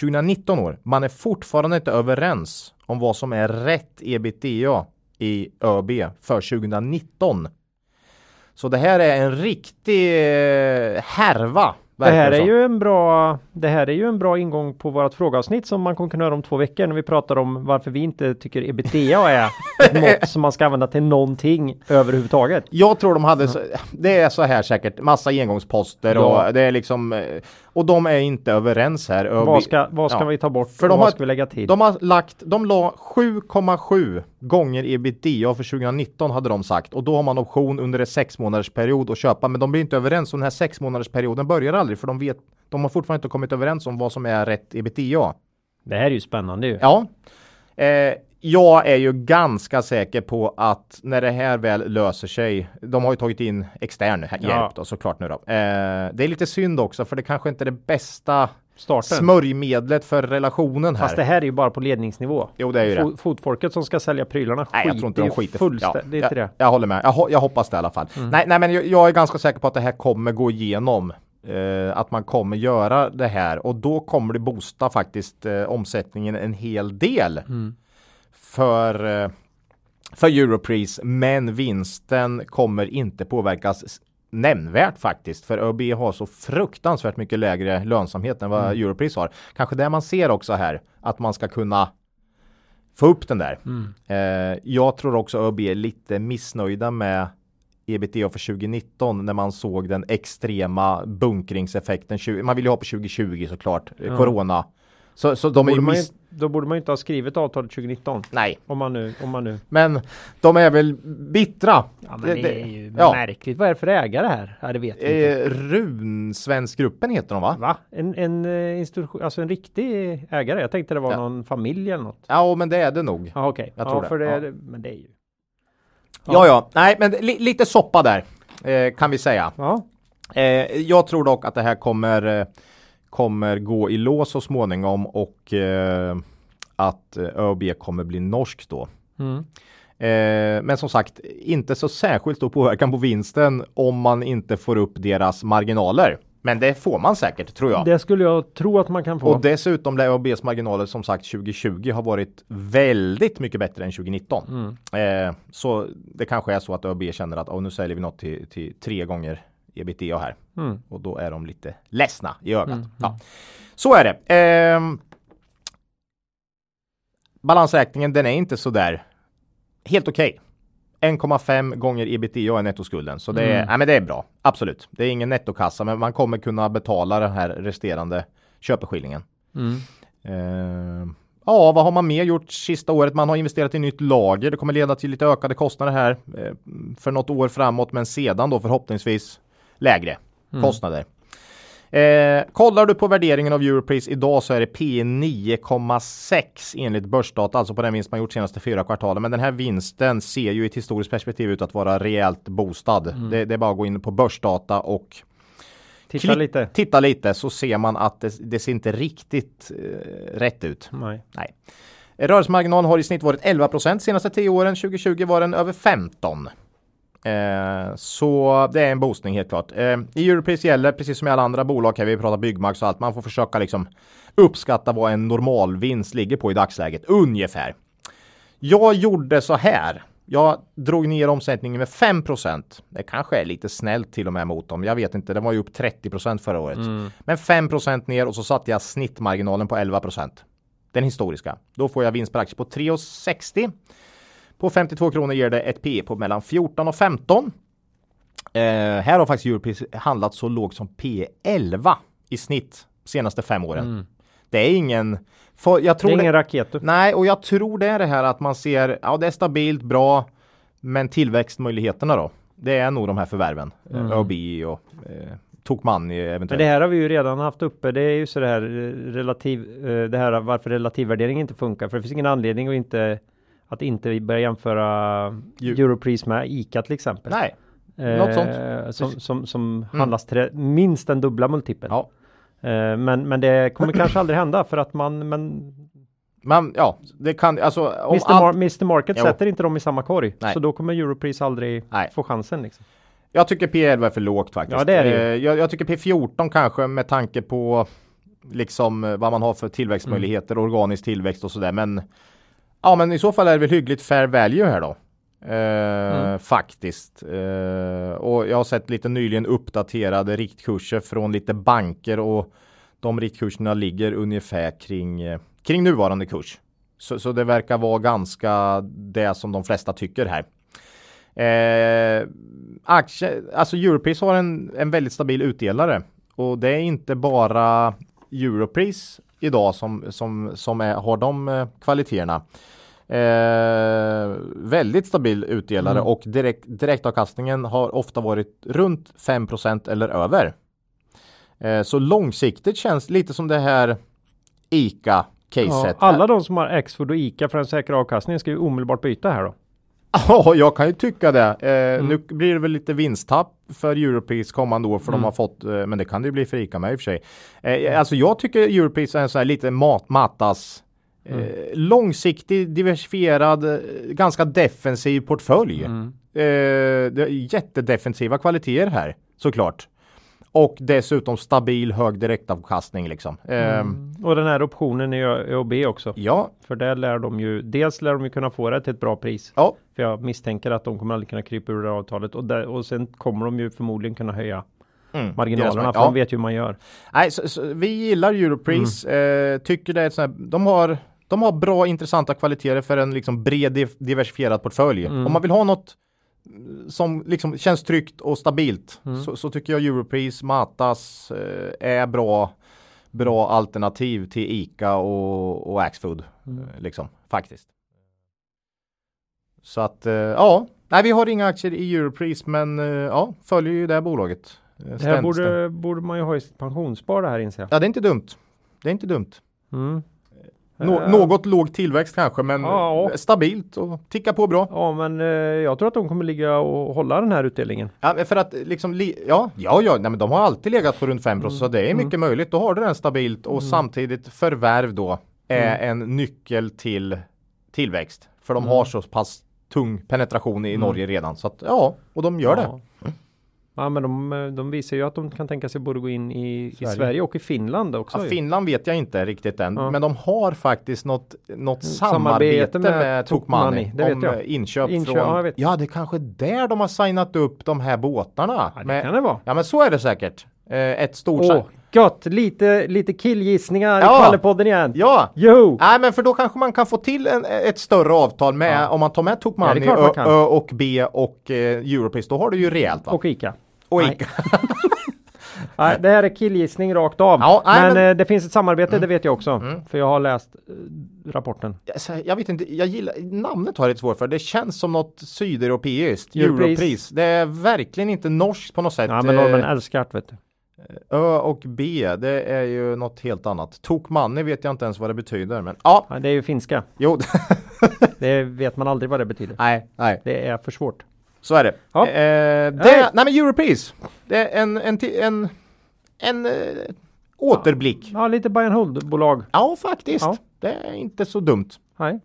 Speaker 2: 2019 år. Man är fortfarande inte överens om vad som är rätt ebitda i ÖB för 2019. Så det här är en riktig eh, härva
Speaker 1: Det här är
Speaker 2: så.
Speaker 1: ju en bra Det här är ju en bra ingång på vårt frågeavsnitt som man kommer kunna höra om två veckor när vi pratar om varför vi inte tycker ebitda är ett
Speaker 2: (laughs)
Speaker 1: mått som man ska använda till någonting överhuvudtaget.
Speaker 2: Jag tror de hade, så, det är så här säkert, massa engångsposter
Speaker 1: Ja.
Speaker 2: och det är liksom, eh, och de är inte överens här. Och
Speaker 1: Vad
Speaker 2: vi-
Speaker 1: ska, vad ska
Speaker 2: ja.
Speaker 1: vi ta bort?
Speaker 2: För
Speaker 1: För
Speaker 2: de
Speaker 1: och
Speaker 2: har-
Speaker 1: vad ska vi lägga till?
Speaker 2: De har lagt, de la 7,7 gånger ebitda för 2019 hade de sagt och då har man option under en sex månaders period att köpa men de blir inte överens om den här sex månaders perioden börjar aldrig för de vet, de har fortfarande inte kommit överens om vad som är rätt ebitda.
Speaker 1: Det här är ju spännande ju.
Speaker 2: Ja. Eh, jag är ju ganska säker på att när det här väl löser sig, de har ju tagit in extern hjälp
Speaker 1: Ja.
Speaker 2: då, såklart nu då. Eh, det är lite synd också för det kanske inte är det bästa
Speaker 1: Starten.
Speaker 2: smörjmedlet för relationen här.
Speaker 1: Fast det här är ju bara på ledningsnivå.
Speaker 2: Jo, det är ju det.
Speaker 1: Fo- Fotfolket som ska sälja prylarna
Speaker 2: Nej, jag tror inte de
Speaker 1: ju
Speaker 2: skiter
Speaker 1: fullständigt det är
Speaker 2: jag,
Speaker 1: inte det. Mm.
Speaker 2: jag håller med. Jag, ho- jag hoppas det i alla fall. Nej, nej, men jag, jag är ganska säker på att det här kommer gå igenom. Eh, att man kommer göra det här och då kommer det boosta faktiskt eh, omsättningen en hel del.
Speaker 1: Mm.
Speaker 2: För, eh, för Europris, men vinsten kommer inte påverkas s- nämnvärt faktiskt. För ÖB har så fruktansvärt mycket lägre lönsamhet än vad
Speaker 1: Mm.
Speaker 2: Europris har. Kanske det man ser också här, att man ska kunna få upp den där.
Speaker 1: Mm.
Speaker 2: Eh, jag tror också ÖB är lite missnöjda med ebitda för 2019 när man såg den extrema bunkringseffekten. 20 Man vill ju ha på 2020 såklart, eh, corona. Så, så de är
Speaker 1: Borde
Speaker 2: ju
Speaker 1: man ju,
Speaker 2: miss...
Speaker 1: då borde man ju inte ha skrivit avtalet 2019.
Speaker 2: Nej,
Speaker 1: Om man nu, om man nu.
Speaker 2: men de är väl bittra.
Speaker 1: Ja men det, är ju
Speaker 2: ja.
Speaker 1: märkligt. Vad är det för ägare här? Ja det vet jag inte.
Speaker 2: Eh, Runsvenskgruppen heter de va?
Speaker 1: Va? En, en eh, institution, alltså en riktig ägare? Jag tänkte det var någon familj eller något.
Speaker 2: Ja, oh, men det är det nog.
Speaker 1: Ja okej.
Speaker 2: Jag
Speaker 1: Ja
Speaker 2: tror det.
Speaker 1: för det,
Speaker 2: Ja.
Speaker 1: är- men det är ju.
Speaker 2: Ja, ja, nej, men li- lite soppa där eh, kan vi säga.
Speaker 1: Ja.
Speaker 2: Eh, jag tror dock att det här kommer, eh, kommer gå i lås så småningom och eh, att eh, ÖB kommer bli norsk då.
Speaker 1: Mm.
Speaker 2: Eh, men som sagt, inte så särskilt stor påverkan på vinsten om man inte får upp deras marginaler. Men det får man säkert tror jag.
Speaker 1: Det skulle jag tro att man kan få.
Speaker 2: Och dessutom lär ÖBs marginaler som sagt 2020 har varit väldigt mycket bättre än 2019. Eh, så det kanske är så att ÖB känner att "Åh, nu säljer vi något till, till tre gånger ebitda här.
Speaker 1: Mm.
Speaker 2: Och då är de lite ledsna i ögat. Ja. Så är det. Ehm, balansräkningen den är inte sådär helt okej. 1,5 gånger ebitda är nettoskulden. Så det är, nej, men det är bra. Absolut. Det är ingen nettokassa men man kommer kunna betala den här resterande köpeskillingen.
Speaker 1: Mm.
Speaker 2: Ehm, ja, vad har man mer gjort sista året? Man har investerat i nytt lager. Det kommer leda till lite ökade kostnader här eh, för något år framåt men sedan då förhoppningsvis lägre kostnader. Eh, kollar du på värderingen av Europris idag så är det P 9,6 enligt börsdata, alltså på den vinst man gjort senaste fyra kvartalen. Men den här vinsten ser ju i ett historiskt perspektiv ut att vara rejält boostad. Det, det är bara att gå in på börsdata och
Speaker 1: Titta
Speaker 2: klick-
Speaker 1: lite.
Speaker 2: titta lite så ser man att det, det ser inte riktigt eh, rätt ut.
Speaker 1: Nej.
Speaker 2: Nej. Rörelsemarginalen har i snitt varit 11 senaste 10 åren. 2020 var den över 15. Eh, så det är en boostning helt klart. Eh, I Europris gäller, precis som i alla andra bolag, här vi pratar Byggmax och allt, man får försöka liksom uppskatta vad en normalvinst ligger på i dagsläget, ungefär. Jag gjorde så här. Jag drog ner omsättningen med 5 Det kanske är lite snällt till och med mot dem. Jag vet inte. Den var ju upp 30 förra året.
Speaker 1: Mm.
Speaker 2: Men 5 ner och så satte jag snittmarginalen på 11 Den historiska. Då får jag vinst per aktie på 3,60. På 52 kronor ger det ett P på mellan 14 och 15. Eh, här har faktiskt Europris handlat så lågt som P11 i snitt senaste fem åren. Det är ingen... För jag tror
Speaker 1: Mm. Det är
Speaker 2: det-
Speaker 1: ingen raket. du.
Speaker 2: Nej, och jag tror det är det här att man ser, ja det är stabilt, bra, men tillväxtmöjligheterna då? Det är nog de här förvärven. Mm. ÖB och eh, Tokmanni
Speaker 1: Men
Speaker 2: eventuellt.
Speaker 1: det här har vi ju redan haft uppe. Det är ju så det här eh, relativ, eh, det här varför relativvärdering inte funkar. För det finns ingen anledning att inte, att inte börja jämföra
Speaker 2: Ju-
Speaker 1: Europris med ICA till exempel.
Speaker 2: Nej, något sånt. Mm.
Speaker 1: Eh, Som, som, som handlas till det- minst den dubbla multipeln.
Speaker 2: Ja.
Speaker 1: Eh, men, men det
Speaker 2: (clears throat)
Speaker 1: kommer kanske aldrig hända för att man, men
Speaker 2: men ja, det kan, alltså om
Speaker 1: Mr. Mar-
Speaker 2: all-
Speaker 1: Mr. Market
Speaker 2: Jo.
Speaker 1: sätter inte dem i samma korg.
Speaker 2: Nej.
Speaker 1: Så då kommer Europris aldrig
Speaker 2: Nej.
Speaker 1: få chansen. Liksom.
Speaker 2: Jag tycker P11 är för lågt faktiskt.
Speaker 1: Ja, det är det ju.
Speaker 2: Eh, Jag, jag tycker P14 kanske med tanke på liksom eh, vad man har för
Speaker 1: Mm.
Speaker 2: tillväxtmöjligheter, organisk tillväxt och sådär. Men ja, men i så fall är det väl hyggligt fair value här då. Eh,
Speaker 1: Mm.
Speaker 2: Faktiskt. Eh, och jag har sett lite nyligen uppdaterade riktkurser från lite banker och de riktkurserna ligger ungefär kring, eh, kring nuvarande kurs. Så, så det verkar vara ganska det som de flesta tycker här. Eh, aktie, alltså Europris har en, en väldigt stabil utdelare och det är inte bara Europris idag som, som, som är, har de eh, kvaliteterna. Eh, väldigt stabil
Speaker 1: Mm.
Speaker 2: utdelare och direkt, direktavkastningen har ofta varit runt 5 eller över. Eh, så långsiktigt känns lite som det här ICA-caset.
Speaker 1: Ja, alla de som har Axfood och Ica för en säker avkastning ska ju omedelbart byta här då.
Speaker 2: (laughs) Ja, jag kan ju tycka det. Eh, Nu blir det väl lite vinsttapp för Europris kommande år för de har fått, eh, men det kan det ju bli för ICA med i och för sig. Eh, alltså jag tycker Europris är en sån här lite matmattas eh, långsiktig, diversifierad, eh, ganska defensiv portfölj. Eh, det är jättedefensiva kvaliteter här såklart. Och dessutom stabil hög direktavkastning liksom. Eh,
Speaker 1: Och den här optionen är ju ÖoB också.
Speaker 2: Ja,
Speaker 1: För där lär de ju, dels lär de ju kunna få det till ett bra pris.
Speaker 2: ja,
Speaker 1: För jag misstänker att de kommer aldrig kunna krypa ur det här avtalet. Och, där, och sen kommer de ju förmodligen kunna höja
Speaker 2: Mm, deras
Speaker 1: marginalerna.
Speaker 2: mark-
Speaker 1: För
Speaker 2: ja.
Speaker 1: de vet ju hur man gör.
Speaker 2: Nej, så, så, vi gillar Europris.
Speaker 1: Mm.
Speaker 2: Eh, tycker det är ett sånt här, de, har, de har bra intressanta kvaliteter för en liksom bred div- diversifierad portfölj.
Speaker 1: Mm.
Speaker 2: Om man vill ha något eh, som liksom känns tryggt och stabilt
Speaker 1: Mm.
Speaker 2: så, så tycker jag Europris, Matas eh, är bra, bra alternativ till ICA och, och Axfood. Eh, liksom, faktiskt. Så att eh, ja, Nej, vi har inga aktier i Europris men eh, ja, följer ju det här bolaget. eh,
Speaker 1: Det här
Speaker 2: ständigt.
Speaker 1: borde, borde man ju ha i sitt pensionsspar det här inser jag.
Speaker 2: Ja, det är inte dumt. Det är inte dumt.
Speaker 1: Mm.
Speaker 2: Nå-
Speaker 1: Eh.
Speaker 2: Något låg tillväxt kanske, men
Speaker 1: Ja.
Speaker 2: stabilt och tickar på bra.
Speaker 1: Ja men eh, jag tror att de kommer ligga och hålla den här utdelningen.
Speaker 2: Ja, men för att liksom, li- ja, ja, ja, nej, men de har alltid legat på runt 5
Speaker 1: Mm.
Speaker 2: så det är mycket möjligt. Då har du den stabilt och samtidigt förvärv då är
Speaker 1: Mm.
Speaker 2: en nyckel till tillväxt. För de har så pass tung penetration i Norge redan. Så att, ja, och de gör det.
Speaker 1: Mm. Ja. Ja men de, eh, de visar ju att de kan tänka sig både gå in i Sverige,
Speaker 2: Sverige.
Speaker 1: i Sverige och i Finland också.
Speaker 2: Ja,
Speaker 1: ju.
Speaker 2: Finland vet jag inte riktigt än, men de har faktiskt något, något
Speaker 1: samarbete
Speaker 2: samarbete
Speaker 1: med
Speaker 2: med,
Speaker 1: Tokmanni,
Speaker 2: Tokmanni
Speaker 1: det vet
Speaker 2: om
Speaker 1: jag.
Speaker 2: eh, inköp,
Speaker 1: Inköp,
Speaker 2: från...
Speaker 1: ja, jag
Speaker 2: Ja,
Speaker 1: vet.
Speaker 2: det är kanske där de har signat upp de här båtarna.
Speaker 1: Ja, det
Speaker 2: med...
Speaker 1: kan det vara.
Speaker 2: ja men så är det säkert. Eh, ett stort...
Speaker 1: Åh,
Speaker 2: sa-
Speaker 1: gött! Lite, lite killgissningar
Speaker 2: Ja.
Speaker 1: i Kallepodden igen.
Speaker 2: Ja!
Speaker 1: Jo!
Speaker 2: Nej men för då kanske man kan få till en, ett större avtal med, om man tar med
Speaker 1: Ja, det är
Speaker 2: Tokmanni,
Speaker 1: klart man
Speaker 2: Ö,
Speaker 1: kan.
Speaker 2: Ö och B och eh, Europris, då har du ju rejält va?
Speaker 1: Och Ica.
Speaker 2: Och
Speaker 1: nej.
Speaker 2: Ica.
Speaker 1: Nej, det här är killgissning rakt av.
Speaker 2: Ja, nej,
Speaker 1: men
Speaker 2: men- Mm.
Speaker 1: eh, det finns ett samarbete, det vet jag också. För jag har läst eh, rapporten.
Speaker 2: Alltså, jag vet inte, jag gillar, namnet har jag lite svårt för. Det känns som något sydeuropeiskt.
Speaker 1: Europris.
Speaker 2: Europris. Det är verkligen inte norskt på något sätt.
Speaker 1: Ja men
Speaker 2: Eh,
Speaker 1: norrmän älskar det vet du.
Speaker 2: Ö och B, det är ju något helt annat. Tokmanni vet jag inte ens vad det betyder. Men ja,
Speaker 1: Ja, det är ju finska.
Speaker 2: jo. (laughs)
Speaker 1: Det vet man aldrig vad det betyder.
Speaker 2: nej, nej.
Speaker 1: Det är för svårt.
Speaker 2: Så är det.
Speaker 1: Ja.
Speaker 2: Eh,
Speaker 1: Nej.
Speaker 2: det nej men Europris. Det är en, en, ti- en, en eh, återblick.
Speaker 1: Ja, lite buy and hold-bolag.
Speaker 2: Ja, faktiskt.
Speaker 1: Ja.
Speaker 2: Det är inte så dumt.
Speaker 1: Nej.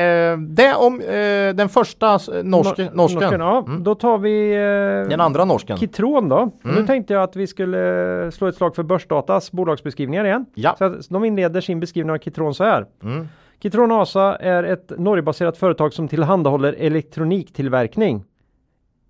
Speaker 2: Eh, det om eh, den första s- norske,
Speaker 1: Nor-
Speaker 2: norsken. Mm.
Speaker 1: ja. Då tar vi
Speaker 2: Den
Speaker 1: eh,
Speaker 2: andra norsken.
Speaker 1: Kitron då.
Speaker 2: Mm.
Speaker 1: Nu tänkte jag att vi skulle eh, slå ett slag för Börsdatas bolagsbeskrivningar igen.
Speaker 2: Ja. Mm.
Speaker 1: Så att de inleder sin beskrivning av Kitron så här. Kitron ASA är ett Norgebaserat företag som tillhandahåller elektroniktillverkning.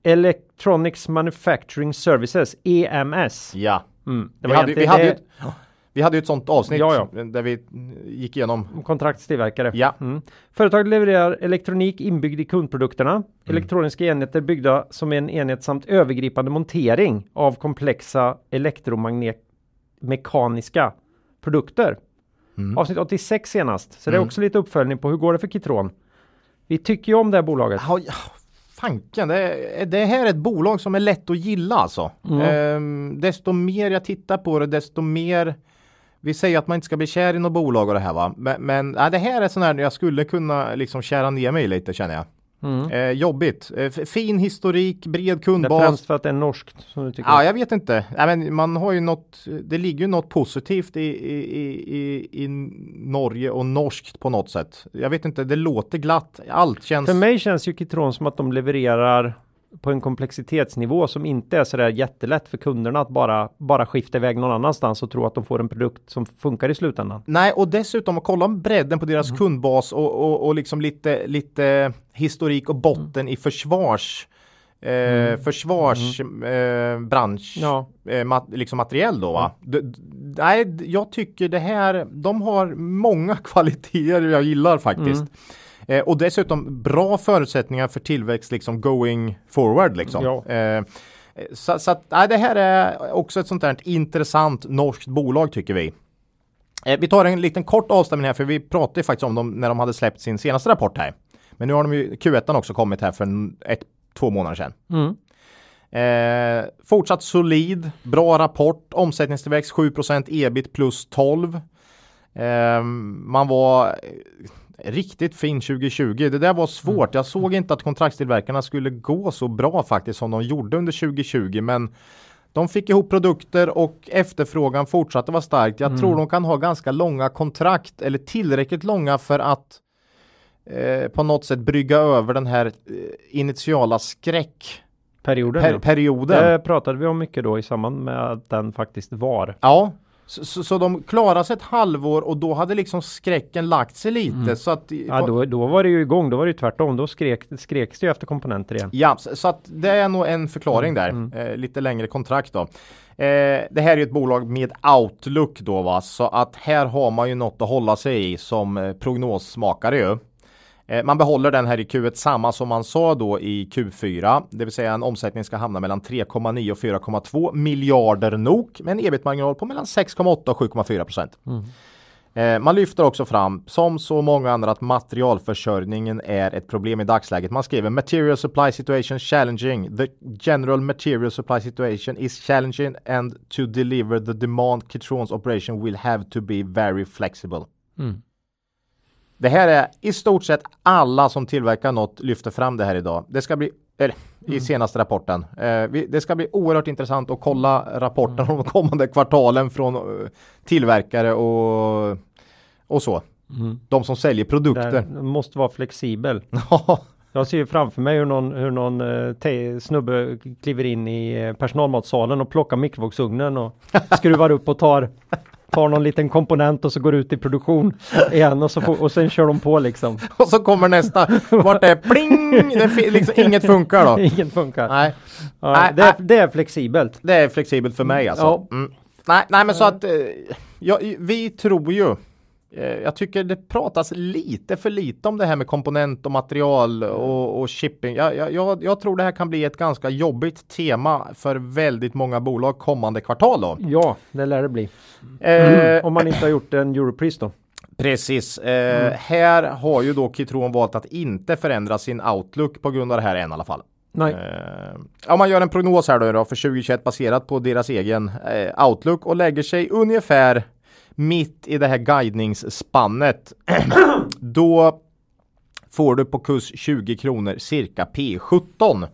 Speaker 1: Electronics Manufacturing Services, EMS.
Speaker 2: Ja.
Speaker 1: Mm. Det
Speaker 2: Vi hade, ju- vi, hade ju,
Speaker 1: egentligen
Speaker 2: ett- vi hade ju ett sånt avsnitt
Speaker 1: Ja,
Speaker 2: där vi gick igenom.
Speaker 1: det- kontraktstillverkare.
Speaker 2: Ja,
Speaker 1: Mm. Företaget levererar elektronik inbyggd i kundprodukterna,
Speaker 2: Mm.
Speaker 1: elektroniska enheter byggda som en enhet samt övergripande montering av komplexa elektromagnetiska produkter.
Speaker 2: Mm.
Speaker 1: Avsnitt 86 senast, så det är också lite uppföljning på hur går det för Kitron. Vi tycker ju om det här bolaget.
Speaker 2: Ja, ja, fanken. Det, är- det här är ett bolag som är lätt att gilla alltså.
Speaker 1: Mm.
Speaker 2: Ehm, desto mer jag tittar på det, desto mer vi säger att man inte ska bli kär i något bolag och det här va. Men, men ja, det här är sån här jag skulle kunna liksom kära ner mig lite känner jag. Eh, jobbigt. Eh, f- fin historik, bred
Speaker 1: Mm. Det är
Speaker 2: kundbas.
Speaker 1: främst för att det är norskt som du tycker.
Speaker 2: Ja, jag vet inte. Nej, men man har ju något, det ligger ju något positivt i, i, i- i, i Norge och norskt på något sätt. Jag vet inte, det låter glatt. Allt känns...
Speaker 1: För mig känns ju Kitron som att de levererar på en komplexitetsnivå som inte är sådär jättelätt för kunderna att bara, bara skifta iväg någon annanstans och tro att de får en produkt som funkar i slutändan.
Speaker 2: Nej, och dessutom att kolla om bredden på
Speaker 1: Mm.
Speaker 2: deras kundbas och, och, och liksom lite, lite historik och botten
Speaker 1: Mm.
Speaker 2: i försvars eh, försvarsbransch
Speaker 1: Mm. Ja.
Speaker 2: eh, mat, liksom materiell då va? D- d- nej, d- jag tycker det här, de har många (laughs) kvaliteter jag gillar faktiskt. Eh, och dessutom bra förutsättningar för tillväxt liksom going forward liksom.
Speaker 1: Ja.
Speaker 2: Eh, så så att, nej, det här är också ett sånt här intressant norskt bolag tycker vi. Eh, vi tar en liten kort avstämning här för vi pratade ju faktiskt om dem när de hade släppt sin senaste rapport här. Men nu har de ju Q1 också kommit här för en, ett, två månader sedan. Eh, fortsatt solid, bra rapport, omsättningstillväxt 7% ebit plus 12. Eh, man var eh, riktigt fin 2020. Det där var svårt. Jag såg inte att kontraktstillverkarna skulle gå så bra faktiskt som de gjorde under 2020. Men de fick ihop produkter och efterfrågan fortsatte vara starkt. Jag tror de kan ha ganska långa kontrakt eller tillräckligt långa för att eh, på något sätt brygga över den här eh, initiala skräck
Speaker 1: Perioden.
Speaker 2: per-
Speaker 1: ja.
Speaker 2: perioden.
Speaker 1: det pratade vi om mycket då i samband med att den faktiskt var.
Speaker 2: Ja, så, så, så de klarade sig ett halvår och då hade liksom skräcken lagt sig lite. Så att,
Speaker 1: Mm. Ja, då, då var det ju igång, då var det ju tvärtom. Då skrek, skreks det ju efter komponenter igen.
Speaker 2: Ja, så så att det är nog en förklaring
Speaker 1: Mm,
Speaker 2: där. Eh, lite längre kontrakt då. Eh, det här är ju ett bolag med outlook då va, så att här har man ju något att hålla sig i som eh, prognosmakare ju. Eh, man behåller den här i Q1 samma som man sa då i Q4, det vill säga en omsättning ska hamna mellan 3,9 och 4,2 miljarder NOK med en ebit-marginal på mellan 6,8 och 7,4 procent. Eh, Man lyfter också fram, som så många andra, att materialförsörjningen är ett problem i dagsläget. Man skriver “Material supply situation challenging. The general material supply situation is challenging and to deliver the demand Kitron's operation will have to be very flexible”. Det här är i stort sett alla som tillverkar något lyfter fram det här idag. Det ska bli, eller i senaste rapporten. Eh, vi, det ska bli oerhört intressant att kolla rapporten om de kommande kvartalen från eh, tillverkare och, och så. De som säljer produkter.
Speaker 1: Där måste vara flexibel.
Speaker 2: (laughs) Ja,
Speaker 1: Jag ser ju framför mig hur någon, hur någon eh, te- snubbe kliver in i eh, personalmatsalen och plockar mikrovågsugnen
Speaker 2: (laughs)
Speaker 1: och skruvar upp och tar, tar någon liten komponent och så går ut i produktion igen och, så får, och sen kör de på liksom.
Speaker 2: och så kommer nästa. Vart är pling? Det fi- liksom, inget funkar
Speaker 1: (laughs)
Speaker 2: då.
Speaker 1: Inget funkar.
Speaker 2: Nej,
Speaker 1: Ja,
Speaker 2: nej,
Speaker 1: det, är, det är flexibelt.
Speaker 2: det är flexibelt för mig alltså.
Speaker 1: Ja.
Speaker 2: Mm. Nej, nej, men så att eh, ja, vi tror ju. eh, Jag tycker det pratas lite för lite om det här med komponent och material
Speaker 1: Mm.
Speaker 2: och, och shipping. Jag, jag, jag, jag tror det här kan bli ett ganska jobbigt tema för väldigt många bolag kommande kvartal då.
Speaker 1: Ja, det lär det bli.
Speaker 2: Eh,
Speaker 1: Mm. Om man Mm. inte har gjort en Europris då.
Speaker 2: Precis. Eh, Här har ju då Kitron valt att inte förändra sin outlook på grund av det här än i alla fall.
Speaker 1: Nej.
Speaker 2: Eh, om man gör en prognos här då, då för 2021 baserat på deras egen eh, outlook och lägger sig ungefär mitt i det här guidningsspannet. (clears throat) då får du på kurs 20 kronor cirka P17.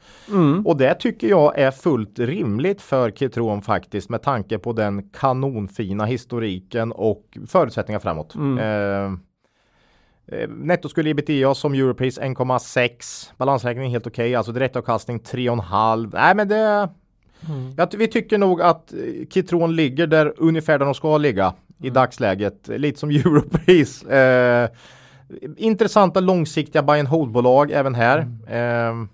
Speaker 2: Och det tycker jag är fullt rimligt för Kitron faktiskt med tanke på den kanonfina historiken och förutsättningar framåt. Eh, Eh, Netto skulle ebitda som Europris 1,6. Balansräkning helt okej. Alltså direktavkastning 3,5. Nej men det...
Speaker 1: Mm.
Speaker 2: Jag, ty- vi tycker nog att eh, Kitron ligger där ungefär där de ska ligga
Speaker 1: Mm.
Speaker 2: i dagsläget. Eh, Lite som (laughs) Europris. Eh, intressanta långsiktiga buy and hold-bolag även här.
Speaker 1: Mm.
Speaker 2: Eh,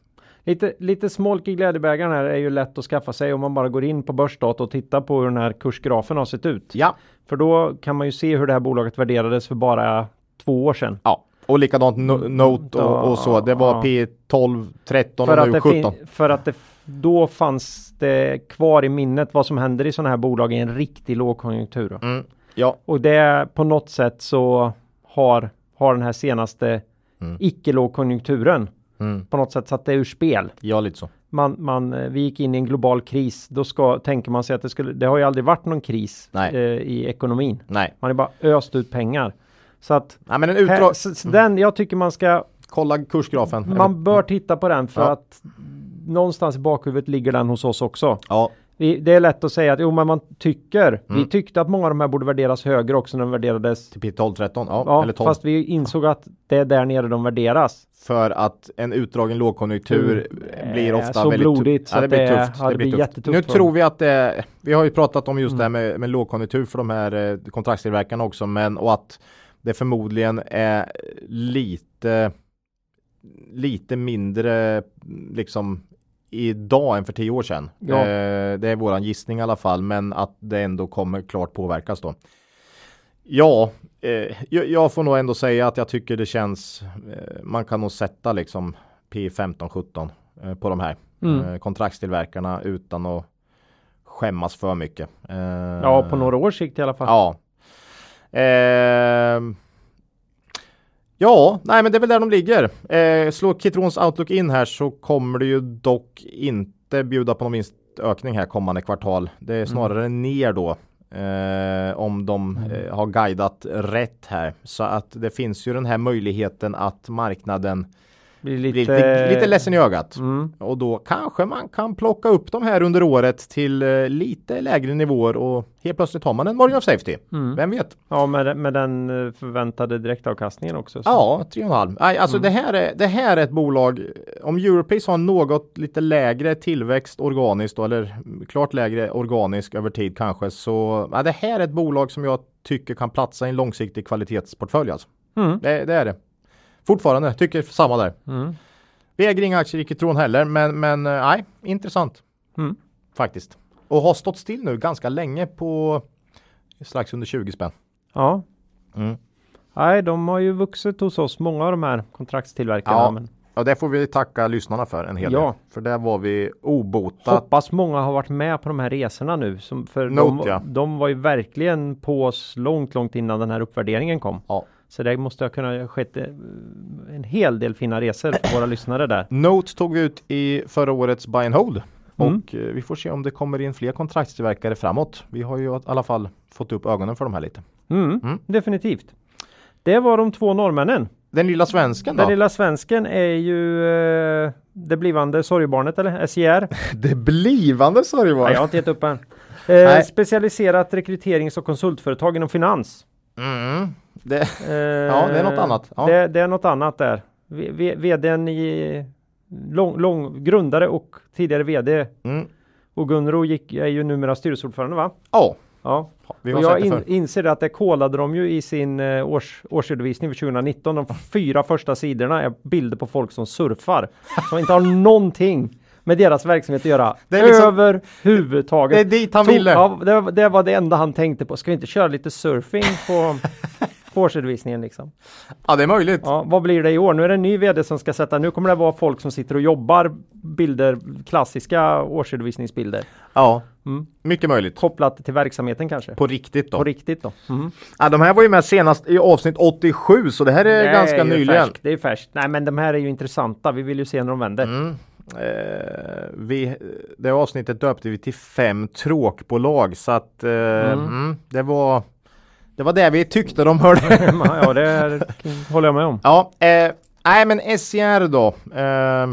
Speaker 1: Lite, lite smolk i glädjebägaren här är ju lätt att skaffa sig om man bara går in på börsdata och tittar på hur den här kursgrafen har sett ut.
Speaker 2: ja.
Speaker 1: För då kan man ju se hur det här bolaget värderades för bara två år sedan.
Speaker 2: ja, och likadant no- Note och, och så. Det var
Speaker 1: Mm. Ja.
Speaker 2: P12, 13
Speaker 1: För
Speaker 2: och
Speaker 1: att,
Speaker 2: nu
Speaker 1: det
Speaker 2: 17.
Speaker 1: fin- för att det f- då fanns det kvar i minnet vad som händer i sådana här bolag i en riktig lågkonjunktur. då.
Speaker 2: Mm. Ja,
Speaker 1: Och det på något sätt så har, har den här senaste Mm. icke-lågkonjunkturen
Speaker 2: Mm.
Speaker 1: på något sätt satt det ur spel.
Speaker 2: ja lite så.
Speaker 1: man, man, eh, vi gick in i en global kris. Då ska, tänker man sig att det skulle, det har ju aldrig varit någon kris
Speaker 2: Nej.
Speaker 1: eh, i ekonomin.
Speaker 2: Nej,
Speaker 1: Man är bara öst ut pengar. Så att,
Speaker 2: Nej men en
Speaker 1: här,
Speaker 2: utdrag.
Speaker 1: så, så den, jag tycker man ska,
Speaker 2: Kolla kursgrafen.
Speaker 1: man bör titta på den för
Speaker 2: Ja.
Speaker 1: att någonstans i bakhuvudet ligger den hos oss också.
Speaker 2: Ja.
Speaker 1: Vi, det är lätt att säga att jo, men man tycker.
Speaker 2: Mm.
Speaker 1: Vi tyckte att många av de här borde värderas högre också när de värderades.
Speaker 2: Typ i 12-13, ja,
Speaker 1: Ja,
Speaker 2: eller 12.
Speaker 1: fast vi insåg att det är där nere de värderas.
Speaker 2: För att en utdragen lågkonjunktur
Speaker 1: Mm.
Speaker 2: blir
Speaker 1: Eh,
Speaker 2: ofta
Speaker 1: så
Speaker 2: väldigt
Speaker 1: blodigt
Speaker 2: tufft.
Speaker 1: så att det- ja, det blir jättetufft
Speaker 2: Nu
Speaker 1: för
Speaker 2: tror
Speaker 1: dem. Mm.
Speaker 2: vi att det, vi har ju pratat om just det här med, med lågkonjunktur för de här eh, kontraktstillverkarna också, men och att det förmodligen är lite, lite mindre liksom idag än för tio år sedan.
Speaker 1: Ja.
Speaker 2: Eh, det är våran gissning i alla fall, men att det ändå kommer klart påverkas då. Ja, eh, jag, jag får nog ändå säga att jag tycker det känns. Eh, man kan nog sätta liksom P 15 17 eh, på de här
Speaker 1: Mm.
Speaker 2: eh, kontraktstillverkarna utan att skämmas för mycket. Eh,
Speaker 1: Ja, på några års sikt i alla fall.
Speaker 2: Ja. Ehm. ja, nej, men det är väl där de ligger. Eh, slå Kitrons Outlook in här så kommer det ju dock inte bjuda på någon vinstökning här kommande kvartal. Det är snarare ner då. Eh, om de eh, har guidat rätt här. Så att det finns ju den här möjligheten att marknaden
Speaker 1: Blir
Speaker 2: blir lite, lite ledsen i ögat.
Speaker 1: Mm.
Speaker 2: Och då kanske man kan plocka upp de här under året till eh, lite lägre nivåer och helt plötsligt har man en margin of safety. Vem vet?
Speaker 1: Ja, med, med den eh, förväntade direktavkastningen också. Så.
Speaker 2: Ja, 3,5. Nej, alltså
Speaker 1: Mm.
Speaker 2: det, här är, det här är ett bolag. Om Europace har något lite lägre tillväxt organiskt då, eller mm, klart lägre organisk över tid kanske så ja, det här är ett bolag som jag tycker kan platsa i en långsiktig kvalitetsportfölj. Alltså.
Speaker 1: Mm.
Speaker 2: Det, det är det. Fortfarande, tycker samma där.
Speaker 1: Mm.
Speaker 2: Vi äger inga aktier i Kitron heller, men, men eh, nej, intressant.
Speaker 1: Mm.
Speaker 2: Faktiskt. Och har stått still nu ganska länge på strax under 20 spänn.
Speaker 1: ja.
Speaker 2: Mm.
Speaker 1: Nej, de har ju vuxit hos oss, många av de här kontraktstillverkarna.
Speaker 2: Ja,
Speaker 1: men
Speaker 2: och det får vi tacka lyssnarna för en hel del.
Speaker 1: Ja.
Speaker 2: För där var vi obotat.
Speaker 1: hoppas många har varit med på de här resorna nu. Som, för
Speaker 2: Note,
Speaker 1: de,
Speaker 2: ja.
Speaker 1: de var ju verkligen på oss långt, långt innan den här uppvärderingen kom.
Speaker 2: Ja.
Speaker 1: Så det måste ha kunnat skett eh, en hel del fina resor för våra lyssnare där.
Speaker 2: Note tog vi ut i förra årets buy and hold.
Speaker 1: Mm.
Speaker 2: Och eh, vi får se om det kommer in fler kontraktstillverkare framåt. Vi har ju i alla fall fått upp ögonen för de här lite.
Speaker 1: Mm,
Speaker 2: Mm.
Speaker 1: Definitivt. Det var de två norrmännen.
Speaker 2: Den lilla svensken
Speaker 1: Den
Speaker 2: då?
Speaker 1: lilla svensken är ju eh, det blivande sorgebarnet eller SJR.
Speaker 2: Det blivande sa det
Speaker 1: Nej, jag har inte gett upp än. Eh,
Speaker 2: Nej.
Speaker 1: specialiserat rekryterings och konsultföretag inom finans.
Speaker 2: Mm. Det,
Speaker 1: Eh,
Speaker 2: ja, det är något annat. Ja.
Speaker 1: Det, det är något annat där. V, v, vdn i lång, lång, grundare och tidigare vd
Speaker 2: Mm.
Speaker 1: och Gunro gick, är ju numera styrelseordförande va?
Speaker 2: ja,
Speaker 1: Ja.
Speaker 2: vi har
Speaker 1: Och
Speaker 2: sett
Speaker 1: jag
Speaker 2: det
Speaker 1: in,
Speaker 2: förr.
Speaker 1: inser att det kolade de ju i sin eh, års, årsredovisning för 2019. De fyra första sidorna är bilder på folk som surfar. Som inte har någonting med deras verksamhet att göra.
Speaker 2: Det är liksom-
Speaker 1: Överhuvudtaget.
Speaker 2: Det är dit han
Speaker 1: Tog-
Speaker 2: ville.
Speaker 1: Ja, det, var- det var det enda han tänkte på. Ska vi inte köra lite surfing på, på årsredovisningen liksom?
Speaker 2: Ja, det är möjligt.
Speaker 1: Ja, vad blir det i år? Nu är det en ny vd som ska sätta. Nu kommer det vara folk som sitter och jobbar bilder, klassiska årsredovisningsbilder.
Speaker 2: Ja,
Speaker 1: Mm.
Speaker 2: mycket möjligt.
Speaker 1: Kopplat till verksamheten kanske.
Speaker 2: På riktigt då.
Speaker 1: På riktigt då. Mhm.
Speaker 2: ja, de här var ju med senast i avsnitt 87 så det här är
Speaker 1: Det
Speaker 2: ganska
Speaker 1: ju
Speaker 2: nyligen.
Speaker 1: Färskt, det är färskt. Nej, men de här är ju intressanta. Vi vill ju se när de vänder.
Speaker 2: Mm. Eh, vi, det avsnittet döpte vi till fem tråkbolag så att eh, mm, det var det var det vi tyckte de (laughs) hörde.
Speaker 1: (laughs) ja, det är, håller jag med om.
Speaker 2: ja, eh, nej men SCR då. Eh,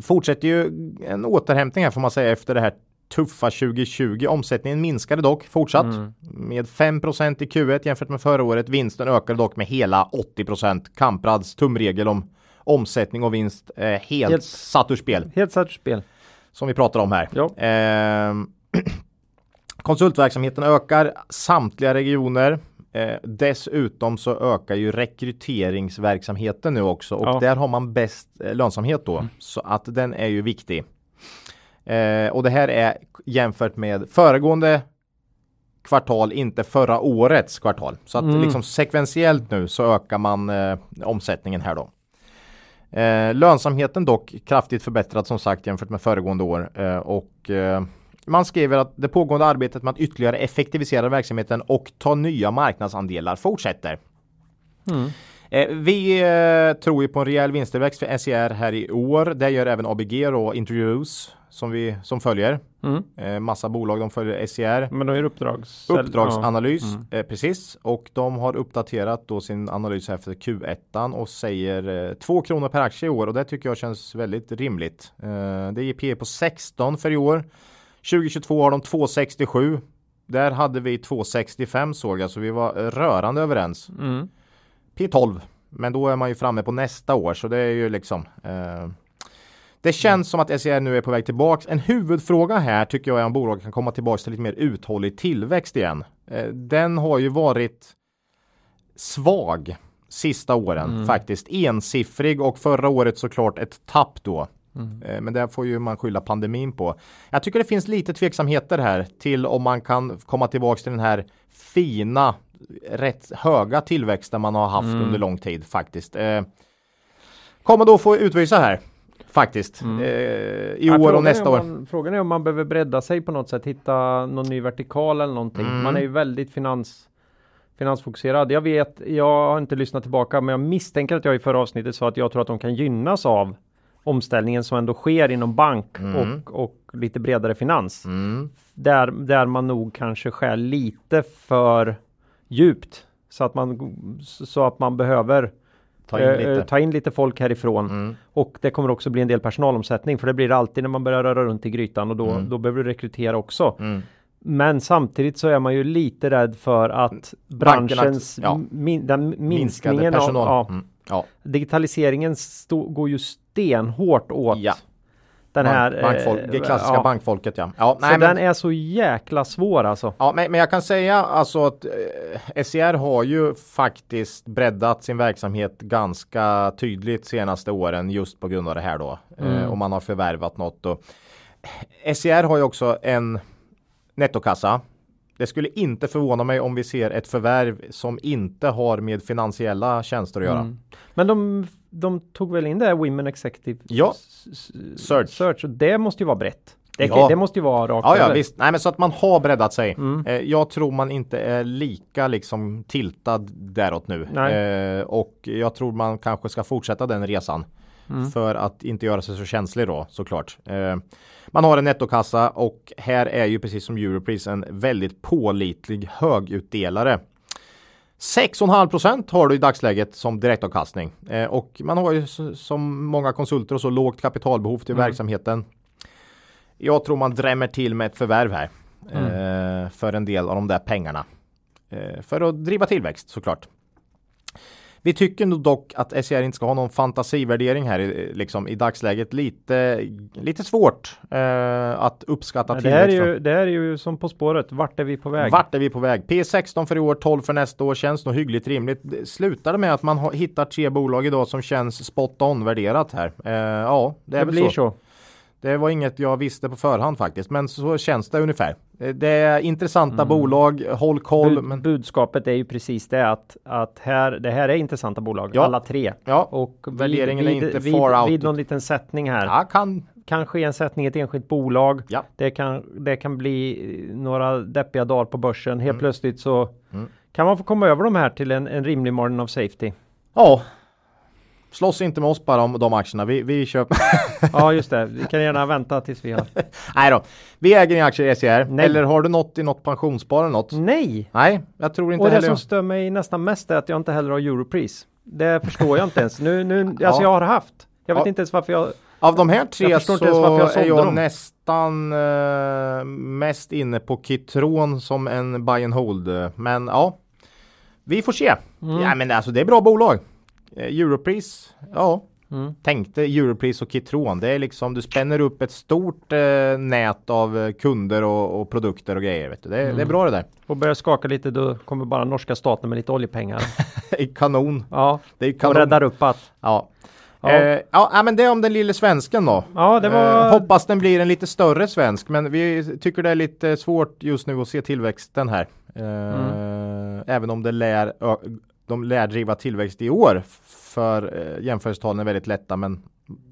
Speaker 2: fortsätter ju en återhämtning här får man säga efter det här tuffa 2020. Omsättningen minskade dock fortsatt med 5% i Q1 jämfört med förra året. Vinsten ökade dock med hela 80%. Kamprads tumregel om omsättning och vinst eh, helt,
Speaker 1: Helt-
Speaker 2: satt ur spel
Speaker 1: Helt satt ur spel.
Speaker 2: som vi pratar om här.
Speaker 1: Ja.
Speaker 2: Ehm, (clears throat) konsultverksamheten ökar samtliga regioner. Eh, dessutom så ökar ju rekryteringsverksamheten nu också och
Speaker 1: Ja. Mm.
Speaker 2: där har man bäst eh, lönsamhet då så att den är ju viktig. Eh, och det här är jämfört med föregående kvartal, inte förra årets kvartal. Så att liksom sekventiellt nu så ökar man eh, omsättningen här då. Eh, lönsamheten dock kraftigt förbättrad som sagt jämfört med föregående år eh, och eh, man skriver att det pågående arbetet med att ytterligare effektivisera verksamheten och ta nya marknadsandelar fortsätter. Eh, vi eh, tror ju på en rejäl vinsttillväxt för SCR här i år. Det gör även ABG och Interviews som vi som följer.
Speaker 1: Mm.
Speaker 2: Eh, massa bolag de följer E SCR.
Speaker 1: Men de gör uppdrags...
Speaker 2: Uppdragsanalys, eh, precis. Och de har uppdaterat då sin analys här för Q1 och säger eh, 2 kronor per aktie i år och det tycker jag känns väldigt rimligt. Eh, det ger P på 16 E för i år. 2022 har de 2,67. Där hade vi 2,65 såg jag, så vi var rörande överens.
Speaker 1: Mm.
Speaker 2: P12. Men då är man ju framme på nästa år, så det är ju liksom. Eh, det känns som att SCR nu är på väg tillbaks. En huvudfråga här tycker jag är om bolaget kan komma tillbaks till lite mer uthållig tillväxt igen. Eh, den har ju varit svag sista åren
Speaker 1: Mm.
Speaker 2: faktiskt. Ensiffrig och förra året såklart ett tapp då.
Speaker 1: Mm.
Speaker 2: Eh, Men där får ju man skylla pandemin på. Jag tycker det finns lite tveksamheter här till om man kan komma tillbaka till den här fina, rätt höga tillväxten man har haft
Speaker 1: Mm.
Speaker 2: under lång tid faktiskt. Eh, Kommer då få utvisa här faktiskt eh, i år och nästa år.
Speaker 1: Man, frågan är Mm. om man behöver bredda sig på något sätt, hitta någon ny vertikal eller någonting.
Speaker 2: Mm.
Speaker 1: Man är ju väldigt finans, finansfokuserad. Jag vet, jag har inte lyssnat tillbaka, men jag misstänker att jag i förra avsnittet sa att jag tror att de kan gynnas av omställningen som ändå sker inom bank
Speaker 2: Mm.
Speaker 1: och, och lite bredare finans. Där, där man nog kanske skär lite för djupt så att man, så att man behöver
Speaker 2: Ta in
Speaker 1: eh,
Speaker 2: lite. Mm.
Speaker 1: eh, ta in lite folk härifrån. Och det kommer också bli en del personalomsättning för det blir det alltid när man börjar röra runt i grytan och då,
Speaker 2: Mm.
Speaker 1: då behöver du rekrytera också. Men samtidigt så är man ju lite rädd för att branschens,
Speaker 2: ja.
Speaker 1: min, den
Speaker 2: Minskade
Speaker 1: minskningen av,
Speaker 2: personal.
Speaker 1: ja,
Speaker 2: Mm. ja.
Speaker 1: digitaliseringen stå, går ju stenhårt åt
Speaker 2: Ja.
Speaker 1: den här.
Speaker 2: Bank, bankfolk,
Speaker 1: eh,
Speaker 2: det klassiska
Speaker 1: ja.
Speaker 2: bankfolket ja. ja
Speaker 1: Så
Speaker 2: nej, men-
Speaker 1: den är så jäkla svår alltså.
Speaker 2: Ja, men, men jag kan säga alltså att eh, SCR har ju faktiskt breddat sin verksamhet ganska tydligt senaste åren just på grund av det här då. Eh, och man har förvärvat något. Och eh, SCR har ju också en nettokassa. Det skulle inte förvåna mig om vi ser ett förvärv som inte har med finansiella tjänster att göra.
Speaker 1: Mm. Men de, de tog väl in det här Women Executive
Speaker 2: Ja.
Speaker 1: s- s-
Speaker 2: Search.
Speaker 1: Search och det måste ju vara brett. Det,
Speaker 2: Ja.
Speaker 1: det måste ju vara rakt
Speaker 2: Ja, ja
Speaker 1: över.
Speaker 2: visst. Nej, men så att man har breddat sig. Eh, jag tror man inte är lika liksom tiltad däråt nu.
Speaker 1: Nej.
Speaker 2: Eh, och jag tror man kanske ska fortsätta den resan. För att inte göra sig så känslig då såklart. Eh, man har en nettokassa och här är ju precis som Europris en väldigt pålitlig högutdelare. 6,5% har du i dagsläget som direktavkastning. Eh, och man har ju s- som många konsulter och så lågt kapitalbehov till verksamheten. Jag tror man drämmer till med ett förvärv här.
Speaker 1: Mm.
Speaker 2: Eh, för en del av de där pengarna. Eh, för att driva tillväxt såklart. Vi tycker nog dock att SCR inte ska ha någon fantasivärdering här i- liksom, i dagsläget. Lite, lite svårt eh, att uppskatta
Speaker 1: Ja, Det här, är
Speaker 2: tillväxt.
Speaker 1: ju, det här är ju som På spåret. Vart är vi på väg?
Speaker 2: Vart är vi på väg? P16 för i år, 12 för nästa år känns nog hyggligt rimligt. Det Slutar det med att man har, hittar tre bolag idag som känns spot on värderat här? Eh, ja, det är
Speaker 1: det
Speaker 2: väl
Speaker 1: blir så.
Speaker 2: så. Det var inget jag visste på förhand faktiskt, men så känns det ungefär. Eh, Det är intressanta
Speaker 1: Mm.
Speaker 2: bolag, håll koll.
Speaker 1: Bud,
Speaker 2: men,
Speaker 1: Budskapet är ju precis det att, att här, det här är intressanta bolag,
Speaker 2: Ja.
Speaker 1: alla tre.
Speaker 2: ja,
Speaker 1: Och vid-
Speaker 2: Värderingen är
Speaker 1: vid,
Speaker 2: inte
Speaker 1: vid,
Speaker 2: far out.
Speaker 1: Vid någon liten sättning här.
Speaker 2: ja, kan,
Speaker 1: Kanske en sättning i ett enskilt bolag.
Speaker 2: ja.
Speaker 1: Det kan, det kan bli eh, några deppiga dagar på börsen.
Speaker 2: Mm.
Speaker 1: Helt plötsligt så kan man få komma över de här till en, en rimlig margin of
Speaker 2: (laughs)
Speaker 1: safety.
Speaker 2: ja. Slåss inte med oss bara om de aktierna. Vi, vi köper. (laughs)
Speaker 1: Ja, just det. Vi kan gärna vänta tills vi har...
Speaker 2: Nej då. Vi äger inga aktier i SCR.
Speaker 1: Nej.
Speaker 2: Eller har du något i något pensionsspar eller något?
Speaker 1: Nej!
Speaker 2: Nej, jag tror inte
Speaker 1: Och det
Speaker 2: heller.
Speaker 1: som stör mig nästan mest är att jag inte heller har Europris. Det förstår jag inte ens. Nu, nu, alltså
Speaker 2: (laughs) Ja.
Speaker 1: jag har haft. Jag vet
Speaker 2: Ja.
Speaker 1: inte ens varför jag...
Speaker 2: Av de här tre
Speaker 1: Jag
Speaker 2: så
Speaker 1: förstår inte ens varför jag
Speaker 2: är
Speaker 1: sålde
Speaker 2: jag
Speaker 1: dem.
Speaker 2: nästan eh, mest inne på Kitron som en buy and hold. eh, Men ja, vi får se.
Speaker 1: Mm.
Speaker 2: Ja, men alltså det är bra bolag. Eh, Europris, ja.
Speaker 1: Mm.
Speaker 2: Tänkte Europris och Kitron. Det är liksom, du spänner upp ett stort eh, nät av eh, kunder och, och produkter och grejer. Vet du. Det,
Speaker 1: Mm.
Speaker 2: det är bra det där. (laughs)
Speaker 1: Och börjar skaka lite då kommer bara norska staten med lite
Speaker 2: (laughs)
Speaker 1: oljepengar.
Speaker 2: Det är Kanon.
Speaker 1: Ja,
Speaker 2: Det är
Speaker 1: och
Speaker 2: kanon.
Speaker 1: räddar upp att...
Speaker 2: Ja.
Speaker 1: Ja.
Speaker 2: Ja. Eh, ja, ja, men det är om den lille svensken då.
Speaker 1: Ja, det var-
Speaker 2: eh, hoppas den blir en lite större svensk, men vi tycker det är lite svårt just nu att se tillväxten här. Eh,
Speaker 1: Mm.
Speaker 2: Även om det lär, ö, de lär driva tillväxt i år, för eh, jämförelsetalen är väldigt lätta, men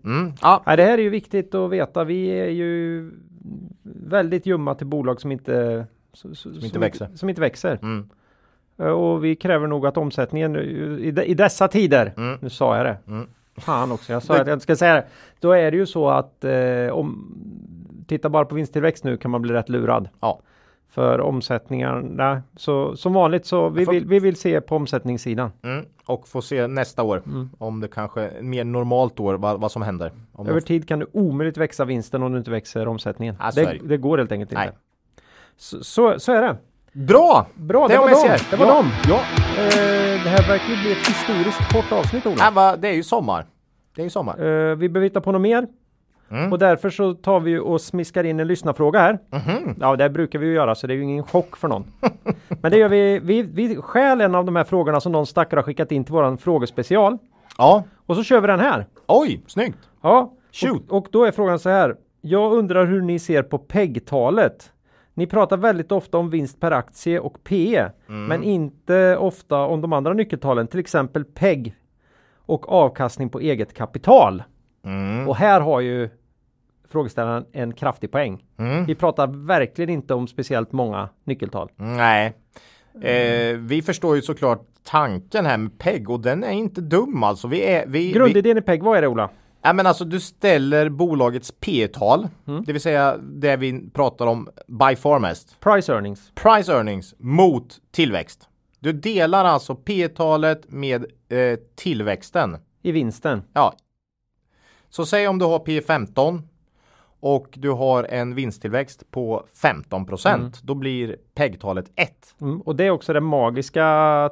Speaker 2: mm, ja.
Speaker 1: Nej, det här är ju viktigt att veta. Vi är ju väldigt ljumma till bolag som inte... Som, som
Speaker 2: växer.
Speaker 1: Som inte växer.
Speaker 2: Mm.
Speaker 1: Eh, Och vi kräver nog att omsättningen nu- i, de- i dessa tider,
Speaker 2: Mm.
Speaker 1: nu sa jag det,
Speaker 2: Mm.
Speaker 1: fan också, jag sa att jag inte ska säga det. Då är det ju så att eh, om, titta bara på vinsttillväxt nu kan man bli rätt lurad.
Speaker 2: Ja.
Speaker 1: för omsättningarna. Så som vanligt så vi
Speaker 2: Jag får-
Speaker 1: vill, vi vill se på omsättningssidan.
Speaker 2: Mm. Och får se nästa år
Speaker 1: Mm.
Speaker 2: om det kanske är ett mer normalt år vad, vad som händer. Om
Speaker 1: Över
Speaker 2: de-
Speaker 1: tid kan du omöjligt växa vinsten om du inte växer omsättningen.
Speaker 2: Ja, så är
Speaker 1: det,
Speaker 2: det.
Speaker 1: det går helt enkelt
Speaker 2: Ah, Nej.
Speaker 1: inte. Så, så, så är det.
Speaker 2: Bra!
Speaker 1: Bra, det, var
Speaker 2: om
Speaker 1: dem.
Speaker 2: SCR.
Speaker 1: Det var
Speaker 2: ja.
Speaker 1: dem.
Speaker 2: Ja.
Speaker 1: Eh, det här verkar ju bli ett historiskt kort avsnitt, Ola.
Speaker 2: Nej, Äh, va, det är ju sommar. Det är ju sommar.
Speaker 1: Eh, vi behöver hitta på något mer. Och därför så tar vi ju och smiskar in en lyssnarfråga här. Ja, det brukar vi ju göra, så det är ju ingen chock (laughs) för någon. Men det gör vi. Vi, vi stjäl en av de här frågorna som någon stackare har skickat in till våran frågespecial.
Speaker 2: Ja.
Speaker 1: Och så kör vi den här.
Speaker 2: Oj, snyggt!
Speaker 1: Ja,
Speaker 2: Shoot.
Speaker 1: Och, och då är frågan så här. Jag undrar hur ni ser på PEG-talet. Ni pratar väldigt ofta om vinst per aktie och PE,
Speaker 2: Mm.
Speaker 1: men inte ofta om de andra nyckeltalen, till exempel PEG och avkastning på eget kapital.
Speaker 2: Mm.
Speaker 1: Och här har ju frågeställaren en kraftig poäng.
Speaker 2: Mm.
Speaker 1: Vi pratar verkligen inte om speciellt många nyckeltal.
Speaker 2: Nej. Eh, vi förstår ju såklart tanken här med PEG och den är inte dum alltså. Vi är, vi, vi,
Speaker 1: Grundidén i PEG, vad är det Ola?
Speaker 2: ja, men alltså du ställer bolagets P tal det vill säga det vi pratar om by far mest,
Speaker 1: Price earnings.
Speaker 2: price earnings mot tillväxt. Du delar alltså P talet med eh, tillväxten.
Speaker 1: I vinsten.
Speaker 2: Ja. Så säg om du har P 15 och du har en vinsttillväxt på 15 Då blir PEG-talet 1.
Speaker 1: Mm, och det är också det magiska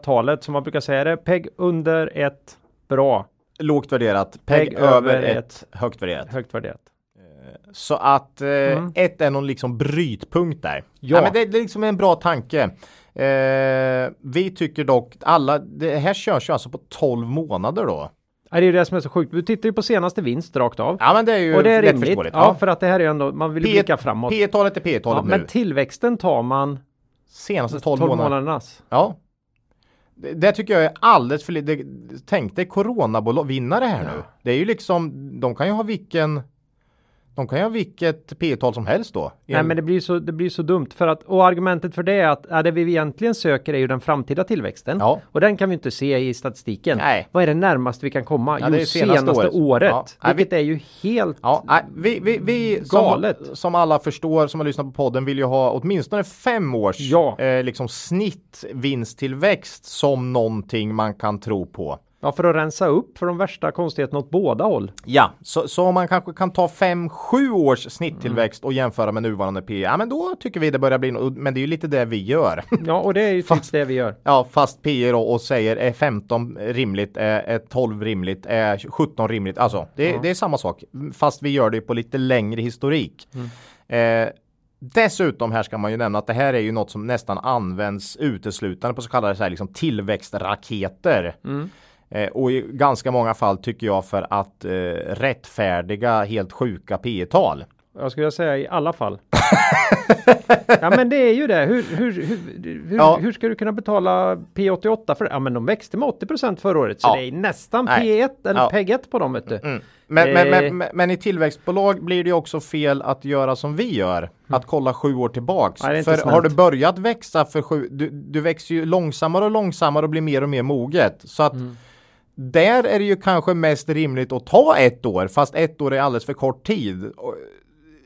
Speaker 1: talet som man brukar säga det. PEG under ett bra,
Speaker 2: Lågt värderat. PEG,
Speaker 1: PEG
Speaker 2: över
Speaker 1: över
Speaker 2: ett högt värderat.
Speaker 1: högt värderat.
Speaker 2: Så att eh, ett är någon liksom brytpunkt där.
Speaker 1: Mm. Ja.
Speaker 2: Ja. men det, det är liksom en bra tanke. Eh, vi tycker dock alla, det här körs ju alltså på 12 månader då.
Speaker 1: Ja, det är ju det som är så sjukt. Du tittar ju på senaste vinst rakt av.
Speaker 2: Ja men det är ju
Speaker 1: och det är
Speaker 2: lätt
Speaker 1: rimligt. Ja,
Speaker 2: förståeligt. Ja.
Speaker 1: för att det här är ju ändå, man vill ju
Speaker 2: P-
Speaker 1: blicka framåt.
Speaker 2: P-talet är P-talet
Speaker 1: ja,
Speaker 2: nu.
Speaker 1: men tillväxten tar man
Speaker 2: Senaste
Speaker 1: 12
Speaker 2: 12, månaderna.
Speaker 1: månadernas.
Speaker 2: Ja. Det, det tycker jag är alldeles för lite. Tänk dig coronavinnare här nu. Det är ju liksom, de kan ju ha vilken, de kan ju ha vilket P-tal som helst då.
Speaker 1: Nej men det blir ju så, det blir ju så dumt för att och argumentet för det är att ja, det vi egentligen söker är ju den framtida tillväxten
Speaker 2: Ja.
Speaker 1: och den kan vi inte se i statistiken.
Speaker 2: Nej.
Speaker 1: Vad är det närmaste vi kan komma?
Speaker 2: Ja,
Speaker 1: jo,
Speaker 2: det är
Speaker 1: senaste,
Speaker 2: senaste
Speaker 1: året,
Speaker 2: året. Ja. Nej, vi-
Speaker 1: vilket är ju helt
Speaker 2: Ja, nej, vi, vi, vi som,
Speaker 1: Galet.
Speaker 2: som alla förstår som har lyssnat på podden vill ju ha åtminstone fem års
Speaker 1: Ja.
Speaker 2: eh, liksom snitt vinsttillväxt som någonting man kan tro på.
Speaker 1: Ja, för att rensa upp för de värsta konstigheterna åt båda håll.
Speaker 2: Ja, så, så om man kanske kan ta fem, sju
Speaker 1: Mm.
Speaker 2: års snitttillväxt och jämföra med nuvarande P. E, Ja, men då tycker vi det börjar bli no- Men det är ju lite det vi gör.
Speaker 1: Ja, och det är ju precis det vi gör.
Speaker 2: Ja, fast PE då och säger är 15 rimligt, är är 12 rimligt, är 17 rimligt. Alltså, det, det är samma sak. Fast vi gör det på lite längre historik. Eh, dessutom här ska man ju nämna att det här är ju något som nästan används uteslutande på så kallade så här, liksom, tillväxtraketer. Eh, och i ganska många fall tycker jag för att eh, rättfärdiga helt sjuka PE tal
Speaker 1: Jag skulle säga i alla
Speaker 2: (laughs)
Speaker 1: fall. ja, men det är ju det. Hur, hur, hur, hur,
Speaker 2: Ja.
Speaker 1: hur ska du kunna betala P88 för det? Ja, men de växte med 80 förra året, så
Speaker 2: Ja.
Speaker 1: det är nästan
Speaker 2: Nej.
Speaker 1: P1 eller
Speaker 2: Ja. Mm.
Speaker 1: PEG1 på dem, vet du.
Speaker 2: Men, men,
Speaker 1: Eh.
Speaker 2: men, men, men i tillväxtbolag blir det ju också fel att göra som vi gör. Att kolla sju år tillbaks.
Speaker 1: Mm. Nej, det är inte
Speaker 2: för
Speaker 1: snällt.
Speaker 2: har du börjat växa för sju, du, du växer ju långsammare och långsammare och blir mer och mer moget. Så att
Speaker 1: Mm.
Speaker 2: där är det ju kanske mest rimligt att ta ett år, fast ett år är alldeles för kort tid. Och,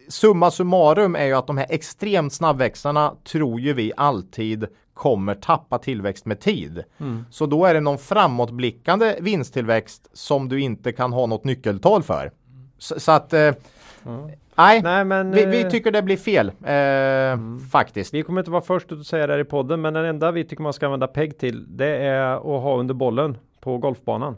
Speaker 2: summa summarum är ju att de här extremt snabbväxarna tror ju vi alltid kommer tappa tillväxt med tid. Så då är det någon framåtblickande vinsttillväxt som du inte kan ha något nyckeltal för. Så, så att eh, nej,
Speaker 1: Nej, men
Speaker 2: vi,
Speaker 1: eh,
Speaker 2: vi tycker det blir fel eh, faktiskt.
Speaker 1: vi kommer inte vara först ut att säga det här i podden, men den enda vi tycker man ska använda PEG till, det är att ha under bollen på
Speaker 2: (laughs)
Speaker 1: golfbanan.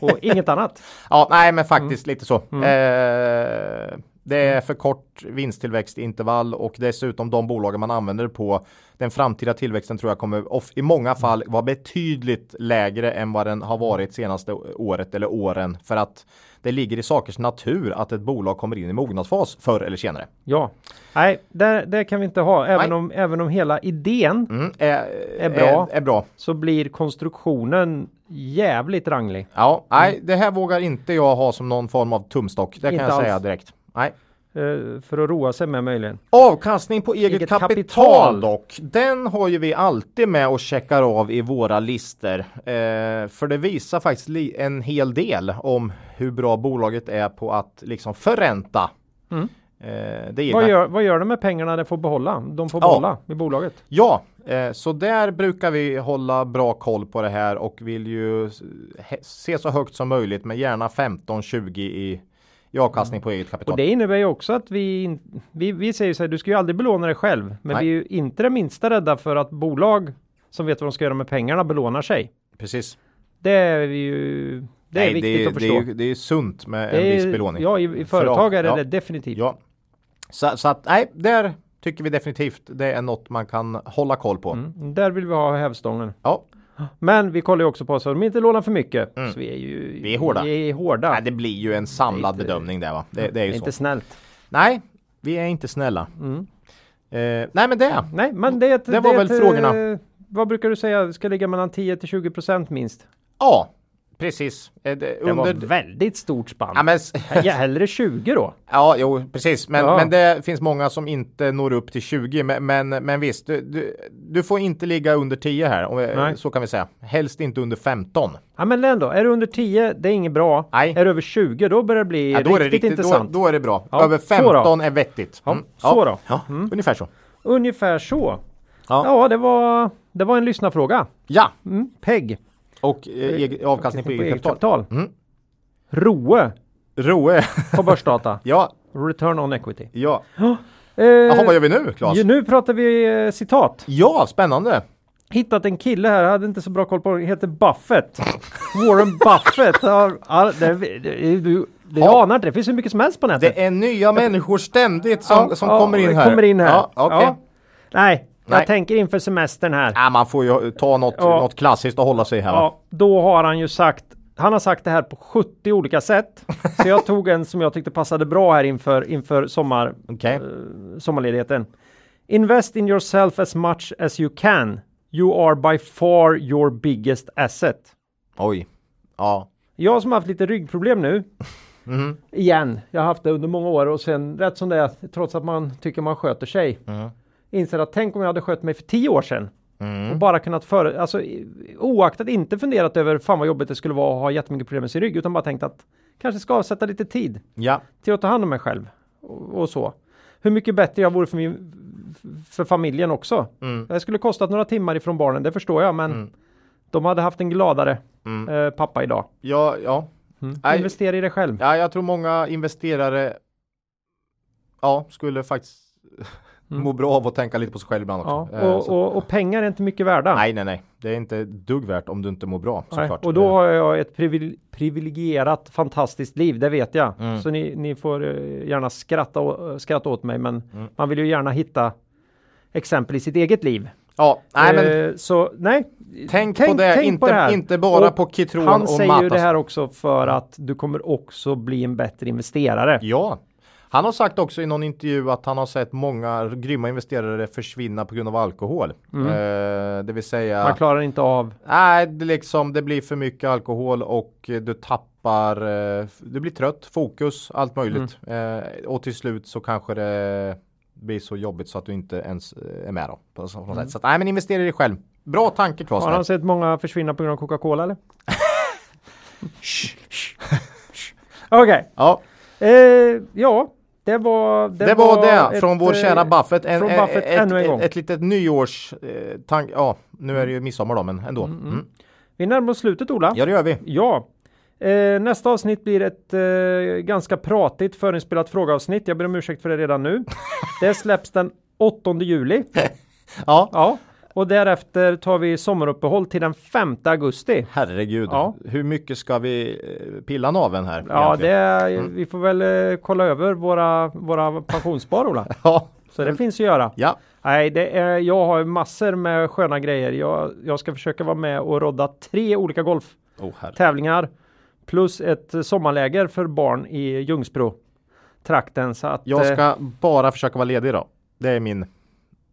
Speaker 1: och inget annat.
Speaker 2: Ja, nej,
Speaker 1: Mm.
Speaker 2: men faktiskt lite så. Eh, det är för kort vinsttillväxtintervall och dessutom de bolagen man använder på den framtida tillväxten tror jag kommer off, i
Speaker 1: Mm.
Speaker 2: många fall vara betydligt lägre än vad den har varit senaste året eller åren för att det ligger i sakers natur att ett bolag kommer in i mognadsfas förr eller senare.
Speaker 1: Ja, nej, det, det kan vi inte ha. Även,
Speaker 2: Nej.
Speaker 1: om, även om hela idén
Speaker 2: Mm, eh,
Speaker 1: Är bra.
Speaker 2: Är, är bra.
Speaker 1: så blir konstruktionen jävligt ranglig.
Speaker 2: Ja, nej, det här vågar inte jag ha som någon form av tumstock. Det kan
Speaker 1: Mm. Inte
Speaker 2: jag säga
Speaker 1: alls.
Speaker 2: direkt. Nej.
Speaker 1: eh, för att roa sig med möjligen.
Speaker 2: Avkastning på eget,
Speaker 1: Eget
Speaker 2: kapital,
Speaker 1: kapital.
Speaker 2: dock, den har ju vi alltid med och checkar av i våra listor. Eh, för det visar faktiskt li- en hel del om hur bra bolaget är på att liksom förränta Eh, det gillar
Speaker 1: Mm. Vad
Speaker 2: jag.
Speaker 1: gör, vad gör de med pengarna de får behålla? De får
Speaker 2: Ja.
Speaker 1: behålla i bolaget.
Speaker 2: Ja, eh, så där brukar vi hålla bra koll på det här och vill ju s- he- se så högt som möjligt men gärna 15-20 i, i avkastning på eget
Speaker 1: Mm.
Speaker 2: kapital.
Speaker 1: Och det innebär ju också att vi, in- vi, vi säger så här, du ska ju aldrig belåna dig själv. Men
Speaker 2: Nej.
Speaker 1: vi är ju inte det minsta rädda för att bolag som vet vad de ska göra med pengarna belånar sig.
Speaker 2: Precis.
Speaker 1: Det är vi ju, det är
Speaker 2: Nej,
Speaker 1: viktigt
Speaker 2: det,
Speaker 1: att
Speaker 2: det,
Speaker 1: förstå.
Speaker 2: är ju, det är sunt med en
Speaker 1: Det är-
Speaker 2: viss belåning.
Speaker 1: Ja, i, i
Speaker 2: För
Speaker 1: företag
Speaker 2: A-
Speaker 1: är det
Speaker 2: ja,
Speaker 1: det definitivt.
Speaker 2: Ja. Så, så att, nej, där tycker vi definitivt det är något man kan hålla koll på.
Speaker 1: Mm, där vill vi ha hävstången.
Speaker 2: Ja,
Speaker 1: Men vi kollar ju också på så att de inte lånar för mycket. Så vi är ju
Speaker 2: Mm. Vi är hårda.
Speaker 1: Vi är hårda.
Speaker 2: nej, det blir ju en samlad
Speaker 1: Det är inte-
Speaker 2: bedömning där va. Det, det är
Speaker 1: Det
Speaker 2: ju
Speaker 1: är
Speaker 2: så.
Speaker 1: inte Mm. snällt.
Speaker 2: Nej, vi är inte snälla. Eh, nej, men det.
Speaker 1: Nej, men det är ett,
Speaker 2: Det var
Speaker 1: är
Speaker 2: väl
Speaker 1: ett,
Speaker 2: frågorna.
Speaker 1: eh, Vad brukar du säga ska ligga mellan 10 till 20 procent minst?
Speaker 2: Ja, precis. Eh, det-
Speaker 1: Det var
Speaker 2: Under...
Speaker 1: ett väldigt stort spann.
Speaker 2: Ja, men... s-
Speaker 1: Ja, hellre 20 då.
Speaker 2: (laughs) Ja, jo, precis. Men,
Speaker 1: Ja.
Speaker 2: men det finns många som inte når upp till 20. Men, men, men visst, du, du, du får inte ligga under 10 här. Och, eh,
Speaker 1: Nej.
Speaker 2: Så kan vi säga. Helst inte under 15.
Speaker 1: Ja, men ändå. Är du under 10, det är inget bra.
Speaker 2: Nej.
Speaker 1: Är du över 20, då börjar det bli
Speaker 2: Ja, då
Speaker 1: riktigt,
Speaker 2: är det riktigt, då,
Speaker 1: intressant.
Speaker 2: då är det bra.
Speaker 1: Ja,
Speaker 2: Över
Speaker 1: så
Speaker 2: 15 är vettigt.
Speaker 1: Ja,
Speaker 2: Mm.
Speaker 1: så då.
Speaker 2: Ja, Ungefär så.
Speaker 1: Ungefär så.
Speaker 2: Ja.
Speaker 1: Ja, det, var, det var en lyssnarfråga.
Speaker 2: Ja,
Speaker 1: Mm, PEG.
Speaker 2: och eh, egen- avkastning på eget kapital.
Speaker 1: Mm. ROE
Speaker 2: Roe. (laughs)
Speaker 1: på börsdata.
Speaker 2: ja,
Speaker 1: Return on equity.
Speaker 2: ja.
Speaker 1: Eh,
Speaker 2: Jaha, vad gör vi nu, Claes?
Speaker 1: ju, nu pratar vi eh, citat.
Speaker 2: Ja, spännande.
Speaker 1: Hittat en kille här, hade inte så bra koll på honom, heter
Speaker 2: (laughs)
Speaker 1: Buffett. Warren Buffett. Har, har, det, det, det, du- det, jag
Speaker 2: Ja.
Speaker 1: anar inte, det finns hur mycket som helst på nätet.
Speaker 2: Det är nya människor ständigt som,
Speaker 1: Ja,
Speaker 2: som
Speaker 1: ja,
Speaker 2: kommer in
Speaker 1: det
Speaker 2: här.
Speaker 1: Kommer in här.
Speaker 2: Ja, okej.
Speaker 1: Ja. Nej, jag
Speaker 2: Nej.
Speaker 1: tänker inför semestern här.
Speaker 2: Ja, man får ju ta något,
Speaker 1: Ja.
Speaker 2: något klassiskt och hålla sig här. va?
Speaker 1: Ja, då har han ju sagt han har sagt det här på 70 olika
Speaker 2: (laughs)
Speaker 1: sätt. Så jag tog en som jag tyckte passade bra här inför, inför sommar,
Speaker 2: Okej.
Speaker 1: sommarledigheten. Invest in yourself as much as you can. You are by far your biggest asset.
Speaker 2: Oj. Ja.
Speaker 1: Jag som har haft lite ryggproblem nu. Igen. Jag har haft det under många år och sen rätt som det är, trots att man tycker man sköter sig.
Speaker 2: Mm.
Speaker 1: Inser att tänk om jag hade skött mig för tio år sedan.
Speaker 2: Mm.
Speaker 1: Och bara kunnat före, alltså i- oaktat inte funderat över fan vad jobbigt det skulle vara att ha jättemycket problem med sin rygg. Utan bara tänkt att kanske ska avsätta lite tid
Speaker 2: Ja.
Speaker 1: till att ta hand om mig själv. Och, och så. Hur mycket bättre jag vore för, min, för familjen också.
Speaker 2: Mm.
Speaker 1: Det skulle kostat några timmar ifrån barnen, det förstår jag. Men de hade haft en gladare eh, pappa idag.
Speaker 2: Ja, ja. Mm.
Speaker 1: Mm.
Speaker 2: Nej,
Speaker 1: Investera i dig själv.
Speaker 2: ja. Jag tror många investerare ja, skulle faktiskt (laughs) må bra av att tänka lite på sig själv ibland
Speaker 1: Mm. Ja,
Speaker 2: också. Eh,
Speaker 1: och,
Speaker 2: så-
Speaker 1: och, och pengar är inte mycket värda.
Speaker 2: Nej, nej, nej. Det är inte ett dugg värt om du inte mår bra
Speaker 1: Nej,
Speaker 2: såklart. Eh.
Speaker 1: Och då har jag ett privil- privilegierat fantastiskt liv, det vet jag.
Speaker 2: Mm.
Speaker 1: Så ni, ni får eh, gärna skratta, å- skratta åt mig, men
Speaker 2: Mm.
Speaker 1: man vill ju gärna hitta exempel i sitt eget liv.
Speaker 2: Ja, nej men
Speaker 1: Eh, så nej,
Speaker 2: tänk, på det. inte,
Speaker 1: det här.
Speaker 2: inte bara
Speaker 1: Och
Speaker 2: på Kitron
Speaker 1: Han
Speaker 2: och
Speaker 1: säger ju det
Speaker 2: Matas.
Speaker 1: här också för att du kommer också bli en bättre investerare.
Speaker 2: Ja. Han har sagt också i någon intervju att han har sett många grymma investerare försvinna på grund av alkohol. Eh, det vill säga.
Speaker 1: Mm. Man klarar inte av...
Speaker 2: Nej, det, liksom, det blir för mycket alkohol och eh, du tappar, eh, f- du blir trött, fokus, allt möjligt.
Speaker 1: Mm.
Speaker 2: Eh, och till slut så kanske det blir så jobbigt så att du inte ens eh, är med då. På, så- på
Speaker 1: Mm.
Speaker 2: något sätt. Så att, nej, men investera i dig själv. Bra tanke Claes.
Speaker 1: Har
Speaker 2: där.
Speaker 1: han sett många försvinna på grund av Coca-Cola eller? Okej.
Speaker 2: Ja,
Speaker 1: Eh, ja, det var
Speaker 2: det, var det
Speaker 1: ett,
Speaker 2: från vår
Speaker 1: eh,
Speaker 2: kära Buffett. En,
Speaker 1: från
Speaker 2: eh,
Speaker 1: Buffett
Speaker 2: ett,
Speaker 1: ännu en
Speaker 2: ett,
Speaker 1: gång.
Speaker 2: Ett, litet nyårs... Eh, tank, ja, nu är det ju midsommar då, men ändå. Mm,
Speaker 1: Vi närmar oss slutet Ola.
Speaker 2: Ja, det gör vi.
Speaker 1: Ja. Eh, nästa avsnitt blir ett eh, ganska pratigt förinspelat frågeavsnitt. Jag ber om ursäkt för det redan nu. Det släpps den 8 juli.
Speaker 2: Ja,
Speaker 1: Ja. Och därefter tar vi sommaruppehåll till den 5 augusti.
Speaker 2: herregud.
Speaker 1: Ja.
Speaker 2: Hur mycket ska vi eh, pilla naveln här?
Speaker 1: Ja, det
Speaker 2: egentligen?
Speaker 1: är, vi får väl eh, kolla över våra, våra pensionsspar Ola.
Speaker 2: Ja,
Speaker 1: Så det finns att göra.
Speaker 2: ja.
Speaker 1: Nej, det är, jag har massor med sköna grejer. Jag, jag ska försöka vara med och rodda tre olika golftävlingar
Speaker 2: Oh, herre.
Speaker 1: plus ett eh, sommarläger för barn i Ljungsbro trakten. Så att,
Speaker 2: Jag
Speaker 1: eh,
Speaker 2: ska bara försöka vara ledig då. Det är min,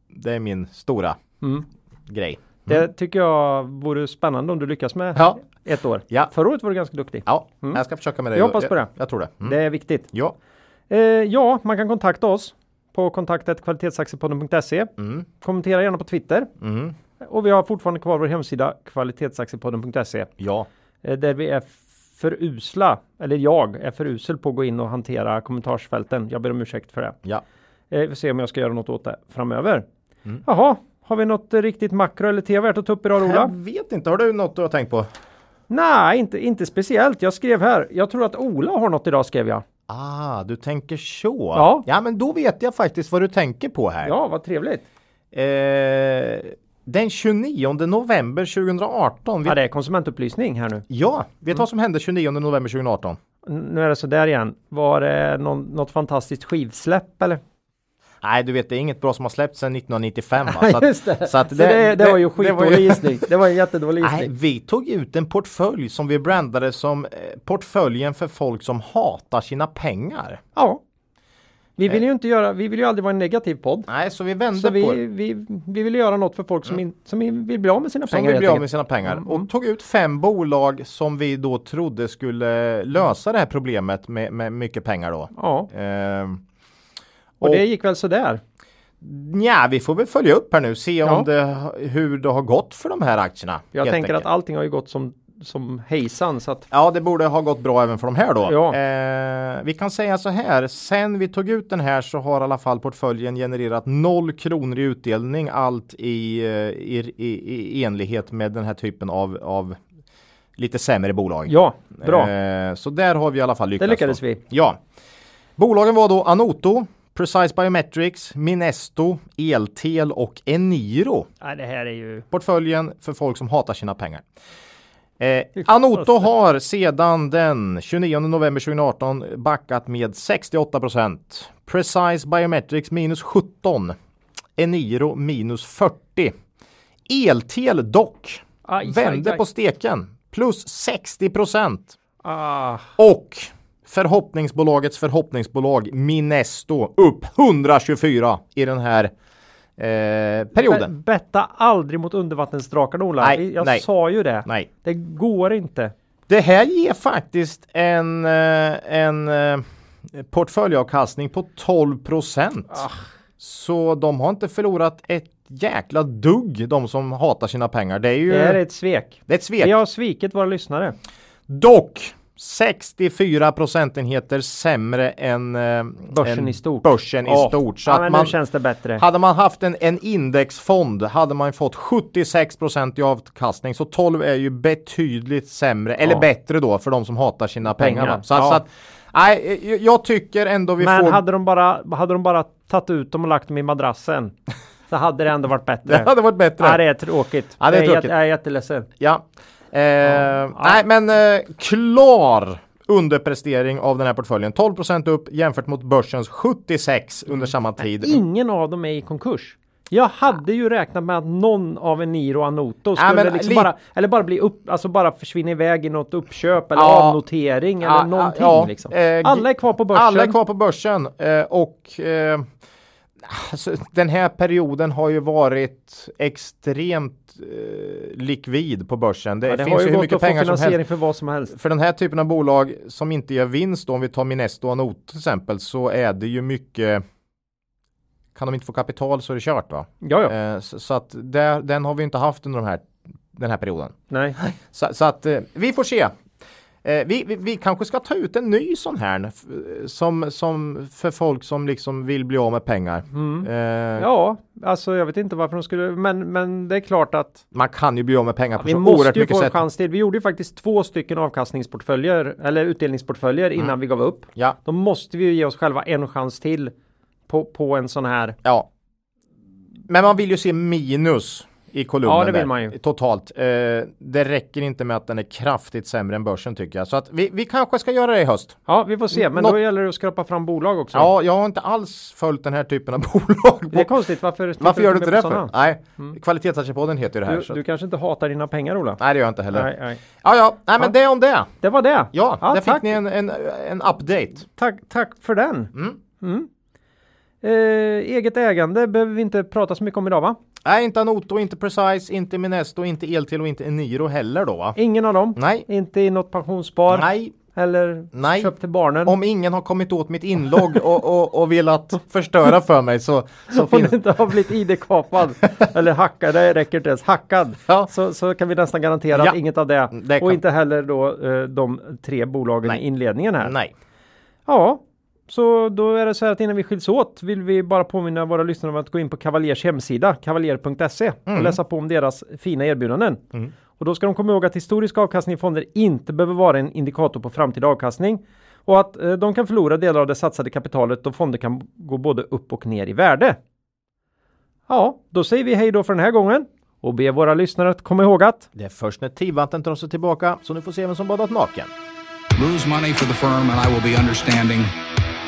Speaker 2: det är min stora
Speaker 1: Mm.
Speaker 2: grej.
Speaker 1: det tycker jag vore spännande om du lyckas med
Speaker 2: Mm. Ja.
Speaker 1: ett år.
Speaker 2: Ja.
Speaker 1: Förra året var du ganska duktig.
Speaker 2: Ja, jag ska försöka med det.
Speaker 1: Mm. Jag hoppas på det.
Speaker 2: Jag, jag tror det. Mm.
Speaker 1: Det är viktigt.
Speaker 2: Ja,
Speaker 1: Eh, ja, man kan kontakta oss på kontaktet kvalitetsaktiepodden.se.
Speaker 2: Mm.
Speaker 1: Kommentera gärna på Twitter. Och vi har fortfarande kvar vår hemsida kvalitetsaktiepodden.se.
Speaker 2: ja,
Speaker 1: eh, där vi är för usla, eller jag är för usel på att gå in och hantera kommentarsfälten. Jag ber om ursäkt för det.
Speaker 2: Ja.
Speaker 1: Eh, vi får se om jag ska göra något åt det framöver.
Speaker 2: Mm.
Speaker 1: Jaha, har vi något eh, riktigt makro eller tv värt att ta upp idag Ola?
Speaker 2: Jag vet inte, har du något du har tänkt på?
Speaker 1: Nej, inte, inte speciellt. Jag skrev här. Jag tror att Ola har något idag skrev jag.
Speaker 2: Ah, du tänker så.
Speaker 1: Ja.
Speaker 2: ja, men då vet jag faktiskt vad du tänker på här.
Speaker 1: Ja, vad trevligt.
Speaker 2: Eh, den 29 november 2018.
Speaker 1: Ja,
Speaker 2: Vet,
Speaker 1: det är konsumentupplysning här nu.
Speaker 2: ja, vet du vad som hände 29 november 2018?
Speaker 1: N- Nu är det så där igen. Var det någon, något fantastiskt skivsläpp eller?
Speaker 2: Nej, du vet, det är inget bra som har släppts sedan
Speaker 1: (laughs)
Speaker 2: 1995. Va? Så att-
Speaker 1: Just det.
Speaker 2: Så att
Speaker 1: det, det, var ju
Speaker 2: det var
Speaker 1: skitdålig
Speaker 2: ju-
Speaker 1: gissning. Det var en jättedålig
Speaker 2: Nej,
Speaker 1: gissning.
Speaker 2: vi tog ut en portfölj som vi brandade som eh, portföljen för folk som hatar sina pengar.
Speaker 1: Ja. Vi vill ju inte göra, vi vill ju aldrig vara en negativ podd.
Speaker 2: Nej, så vi vände
Speaker 1: Så
Speaker 2: Eh. på
Speaker 1: vi,
Speaker 2: det. Mm.
Speaker 1: vi, vi vill göra något för folk som, in, som in, vill bli av med sina
Speaker 2: Som
Speaker 1: pengar
Speaker 2: vill bli
Speaker 1: helt
Speaker 2: av med
Speaker 1: enkelt. Mm,
Speaker 2: sina pengar. Och tog ut fem bolag som vi då trodde skulle lösa det här problemet med, med mycket pengar då.
Speaker 1: Ja,
Speaker 2: Ehm,
Speaker 1: och, det gick väl sådär.
Speaker 2: Nja, vi får väl följa upp här nu, se om
Speaker 1: Ja.
Speaker 2: det, hur det har gått för de här aktierna.
Speaker 1: Jag
Speaker 2: helt
Speaker 1: tänker
Speaker 2: enkelt.
Speaker 1: att allting har ju gått som, som hejsan så att
Speaker 2: Ja, det borde ha gått bra även för de här då.
Speaker 1: Ja.
Speaker 2: Eh, vi kan säga så här, sen vi tog ut den här så har i alla fall portföljen genererat noll kronor i utdelning, allt i, eh, i, i, i enlighet med den här typen av, av lite sämre bolag.
Speaker 1: ja, bra.
Speaker 2: Eh, så där har vi i alla fall
Speaker 1: det
Speaker 2: lyckats.
Speaker 1: lyckades
Speaker 2: då.
Speaker 1: vi.
Speaker 2: Ja. Bolagen var då Anoto, Precise Biometrics, Minesto, Eltel och Eniro.
Speaker 1: Nej, det här är ju...
Speaker 2: Portföljen för folk som hatar sina pengar. Eh, Anoto har sedan den 29 november 2018 backat med 68 procent. Precise Biometrics minus 17. Eniro minus 40. Eltel dock
Speaker 1: Aj,
Speaker 2: vände
Speaker 1: aj, aj.
Speaker 2: på steken. Plus 60 procent.
Speaker 1: Ah,
Speaker 2: Och förhoppningsbolagets förhoppningsbolag Minesto upp 124 i den här eh, perioden.
Speaker 1: be- betta aldrig mot undervattensdrakarna Ola.
Speaker 2: Nej,
Speaker 1: Vi- jag
Speaker 2: nej.
Speaker 1: sa ju det.
Speaker 2: Nej.
Speaker 1: Det går inte.
Speaker 2: Det här ger faktiskt en, eh, en eh, portföljavkastning på 12 procent.
Speaker 1: Ah.
Speaker 2: Så de har inte förlorat ett jäkla dugg, de som hatar sina pengar. Det är ju
Speaker 1: Det här är ett svek.
Speaker 2: det är ett svek.
Speaker 1: Vi har svikit våra lyssnare.
Speaker 2: Dock 64 procentenheter sämre än eh,
Speaker 1: Börsen
Speaker 2: än
Speaker 1: i stort.
Speaker 2: Börsen i
Speaker 1: Ja.
Speaker 2: stort. Så
Speaker 1: ja,
Speaker 2: att
Speaker 1: men
Speaker 2: man,
Speaker 1: nu känns det bättre.
Speaker 2: hade man haft en, en indexfond hade man fått 76 procent i avkastning. Så 12 är ju betydligt sämre, eller bättre då för de som hatar sina pengar.
Speaker 1: Pengar,
Speaker 2: va? Så, att-
Speaker 1: ja.
Speaker 2: så att, nej, jag- jag tycker ändå vi
Speaker 1: men
Speaker 2: får...
Speaker 1: hade, de bara, hade de bara tagit ut dem och lagt dem i madrassen så hade (laughs) det ändå varit bättre.
Speaker 2: (laughs) Det hade varit bättre.
Speaker 1: Ja, det är tråkigt.
Speaker 2: Ja, det är
Speaker 1: Jag
Speaker 2: tråkigt.
Speaker 1: jät- Jag är jätteledsen.
Speaker 2: Ja. Eh, Nej, men eh, klar underprestering av den här portföljen. 12 upp jämfört mot börsens 76 under samma tid.
Speaker 1: Mm. Ingen av dem är i konkurs. Jag hade ju räknat med att någon av Eniro och Anoto
Speaker 2: Ja,
Speaker 1: skulle
Speaker 2: men
Speaker 1: liksom
Speaker 2: li-
Speaker 1: bara, eller bara bli upp, alltså bara försvinna iväg i något uppköp eller
Speaker 2: Ja.
Speaker 1: avnotering eller
Speaker 2: Ja,
Speaker 1: någonting
Speaker 2: ja,
Speaker 1: liksom.
Speaker 2: eh,
Speaker 1: alla är kvar på börsen.
Speaker 2: Alla är kvar på börsen eh, och eh, alltså, den här perioden har ju varit extremt eh, likvid på börsen. Det,
Speaker 1: Ja, det
Speaker 2: finns
Speaker 1: har
Speaker 2: ju
Speaker 1: ju
Speaker 2: hur
Speaker 1: gått
Speaker 2: mycket
Speaker 1: att få
Speaker 2: pengar som
Speaker 1: finansiering
Speaker 2: helst.
Speaker 1: för vad som helst.
Speaker 2: För den här typen av bolag som inte gör vinst, då, om vi tar Minesto och Anoto till exempel, så är det ju mycket kan de inte få kapital så är det kört va?
Speaker 1: Ja, ja.
Speaker 2: Eh, Så, så att där, den har vi inte haft under de här, den här perioden.
Speaker 1: Nej.
Speaker 2: Så, så att eh, vi får se. Eh, vi, vi, vi kanske ska ta ut en ny sån här f- som, som för folk som liksom vill bli av med pengar. Eh,
Speaker 1: Mm. Ja, alltså jag vet inte varför de skulle, men, men det är klart att
Speaker 2: Man kan ju bli av med pengar på
Speaker 1: vi
Speaker 2: så
Speaker 1: måste
Speaker 2: oerhört
Speaker 1: ju
Speaker 2: mycket
Speaker 1: få en
Speaker 2: sätt.
Speaker 1: chans till. Vi gjorde ju faktiskt två stycken avkastningsportföljer, eller utdelningsportföljer innan vi gav upp.
Speaker 2: Mm. Ja,
Speaker 1: Då måste vi ju ge oss själva en chans till på, på en sån här
Speaker 2: ja. Men man vill ju se minus i kolumnen
Speaker 1: Ja, det vill
Speaker 2: där,
Speaker 1: man ju.
Speaker 2: totalt. Eh, det räcker inte med att den är kraftigt sämre än börsen tycker jag. Så att vi, vi kanske ska göra det i höst.
Speaker 1: Ja, vi får se. Men
Speaker 2: Nå-
Speaker 1: då gäller det att skrapa fram bolag också.
Speaker 2: Ja, jag har inte alls följt den här typen av (laughs) bolag.
Speaker 1: Det är konstigt. Varför,
Speaker 2: Varför gör du
Speaker 1: med
Speaker 2: inte
Speaker 1: på
Speaker 2: det för?
Speaker 1: sådana?
Speaker 2: Nej, Kvalitetsaktiepodden heter ju det här. så
Speaker 1: Du, du
Speaker 2: att-
Speaker 1: kanske inte hatar dina pengar, Ola?
Speaker 2: Nej, det gör jag inte heller.
Speaker 1: Nej, nej.
Speaker 2: Ja, ja, nej men det om det.
Speaker 1: Det var det.
Speaker 2: Ja, där
Speaker 1: tack,
Speaker 2: fick ni en, en, en update.
Speaker 1: tack, tack för den. Mm. Eh, eget ägande behöver vi inte prata så mycket om idag, va?
Speaker 2: Nej, inte Anoto, inte Precise, inte Minesto, inte Eltil och inte Eniro heller då va?
Speaker 1: Ingen av dem.
Speaker 2: Nej,
Speaker 1: Inte i något pensionsspar.
Speaker 2: nej,
Speaker 1: Eller
Speaker 2: Nej.
Speaker 1: köpt till barnen?
Speaker 2: Om ingen har kommit åt mitt inlogg och, och, och velat förstöra för mig så, (laughs)
Speaker 1: (laughs)
Speaker 2: så
Speaker 1: Om
Speaker 2: finns
Speaker 1: du inte har blivit
Speaker 2: (laughs)
Speaker 1: ID-kapad eller hackad, det räcker inte ens, hackad.
Speaker 2: Ja.
Speaker 1: Så, så kan vi nästan garantera
Speaker 2: Ja.
Speaker 1: att inget av det,
Speaker 2: Det kan-
Speaker 1: och inte heller då eh, de tre bolagen
Speaker 2: Nej.
Speaker 1: i inledningen här.
Speaker 2: Nej.
Speaker 1: Ja, så då är det så här att innan vi skiljs åt vill vi bara påminna våra lyssnare om att gå in på Cavaliers hemsida, kavaljer.se och läsa på om deras fina erbjudanden. Och då ska de komma ihåg att historisk avkastning i fonder inte behöver vara en indikator på framtida avkastning och att eh, de kan förlora delar av det satsade kapitalet då fonder kan gå både upp och ner i värde. Ja, då säger vi hej då för den här gången och ber våra lyssnare att komma ihåg att
Speaker 2: Det är först när tidvattnet drar sig tillbaka så ni får se vem som badat naken.
Speaker 3: Lose money for the firm, and I will be understanding.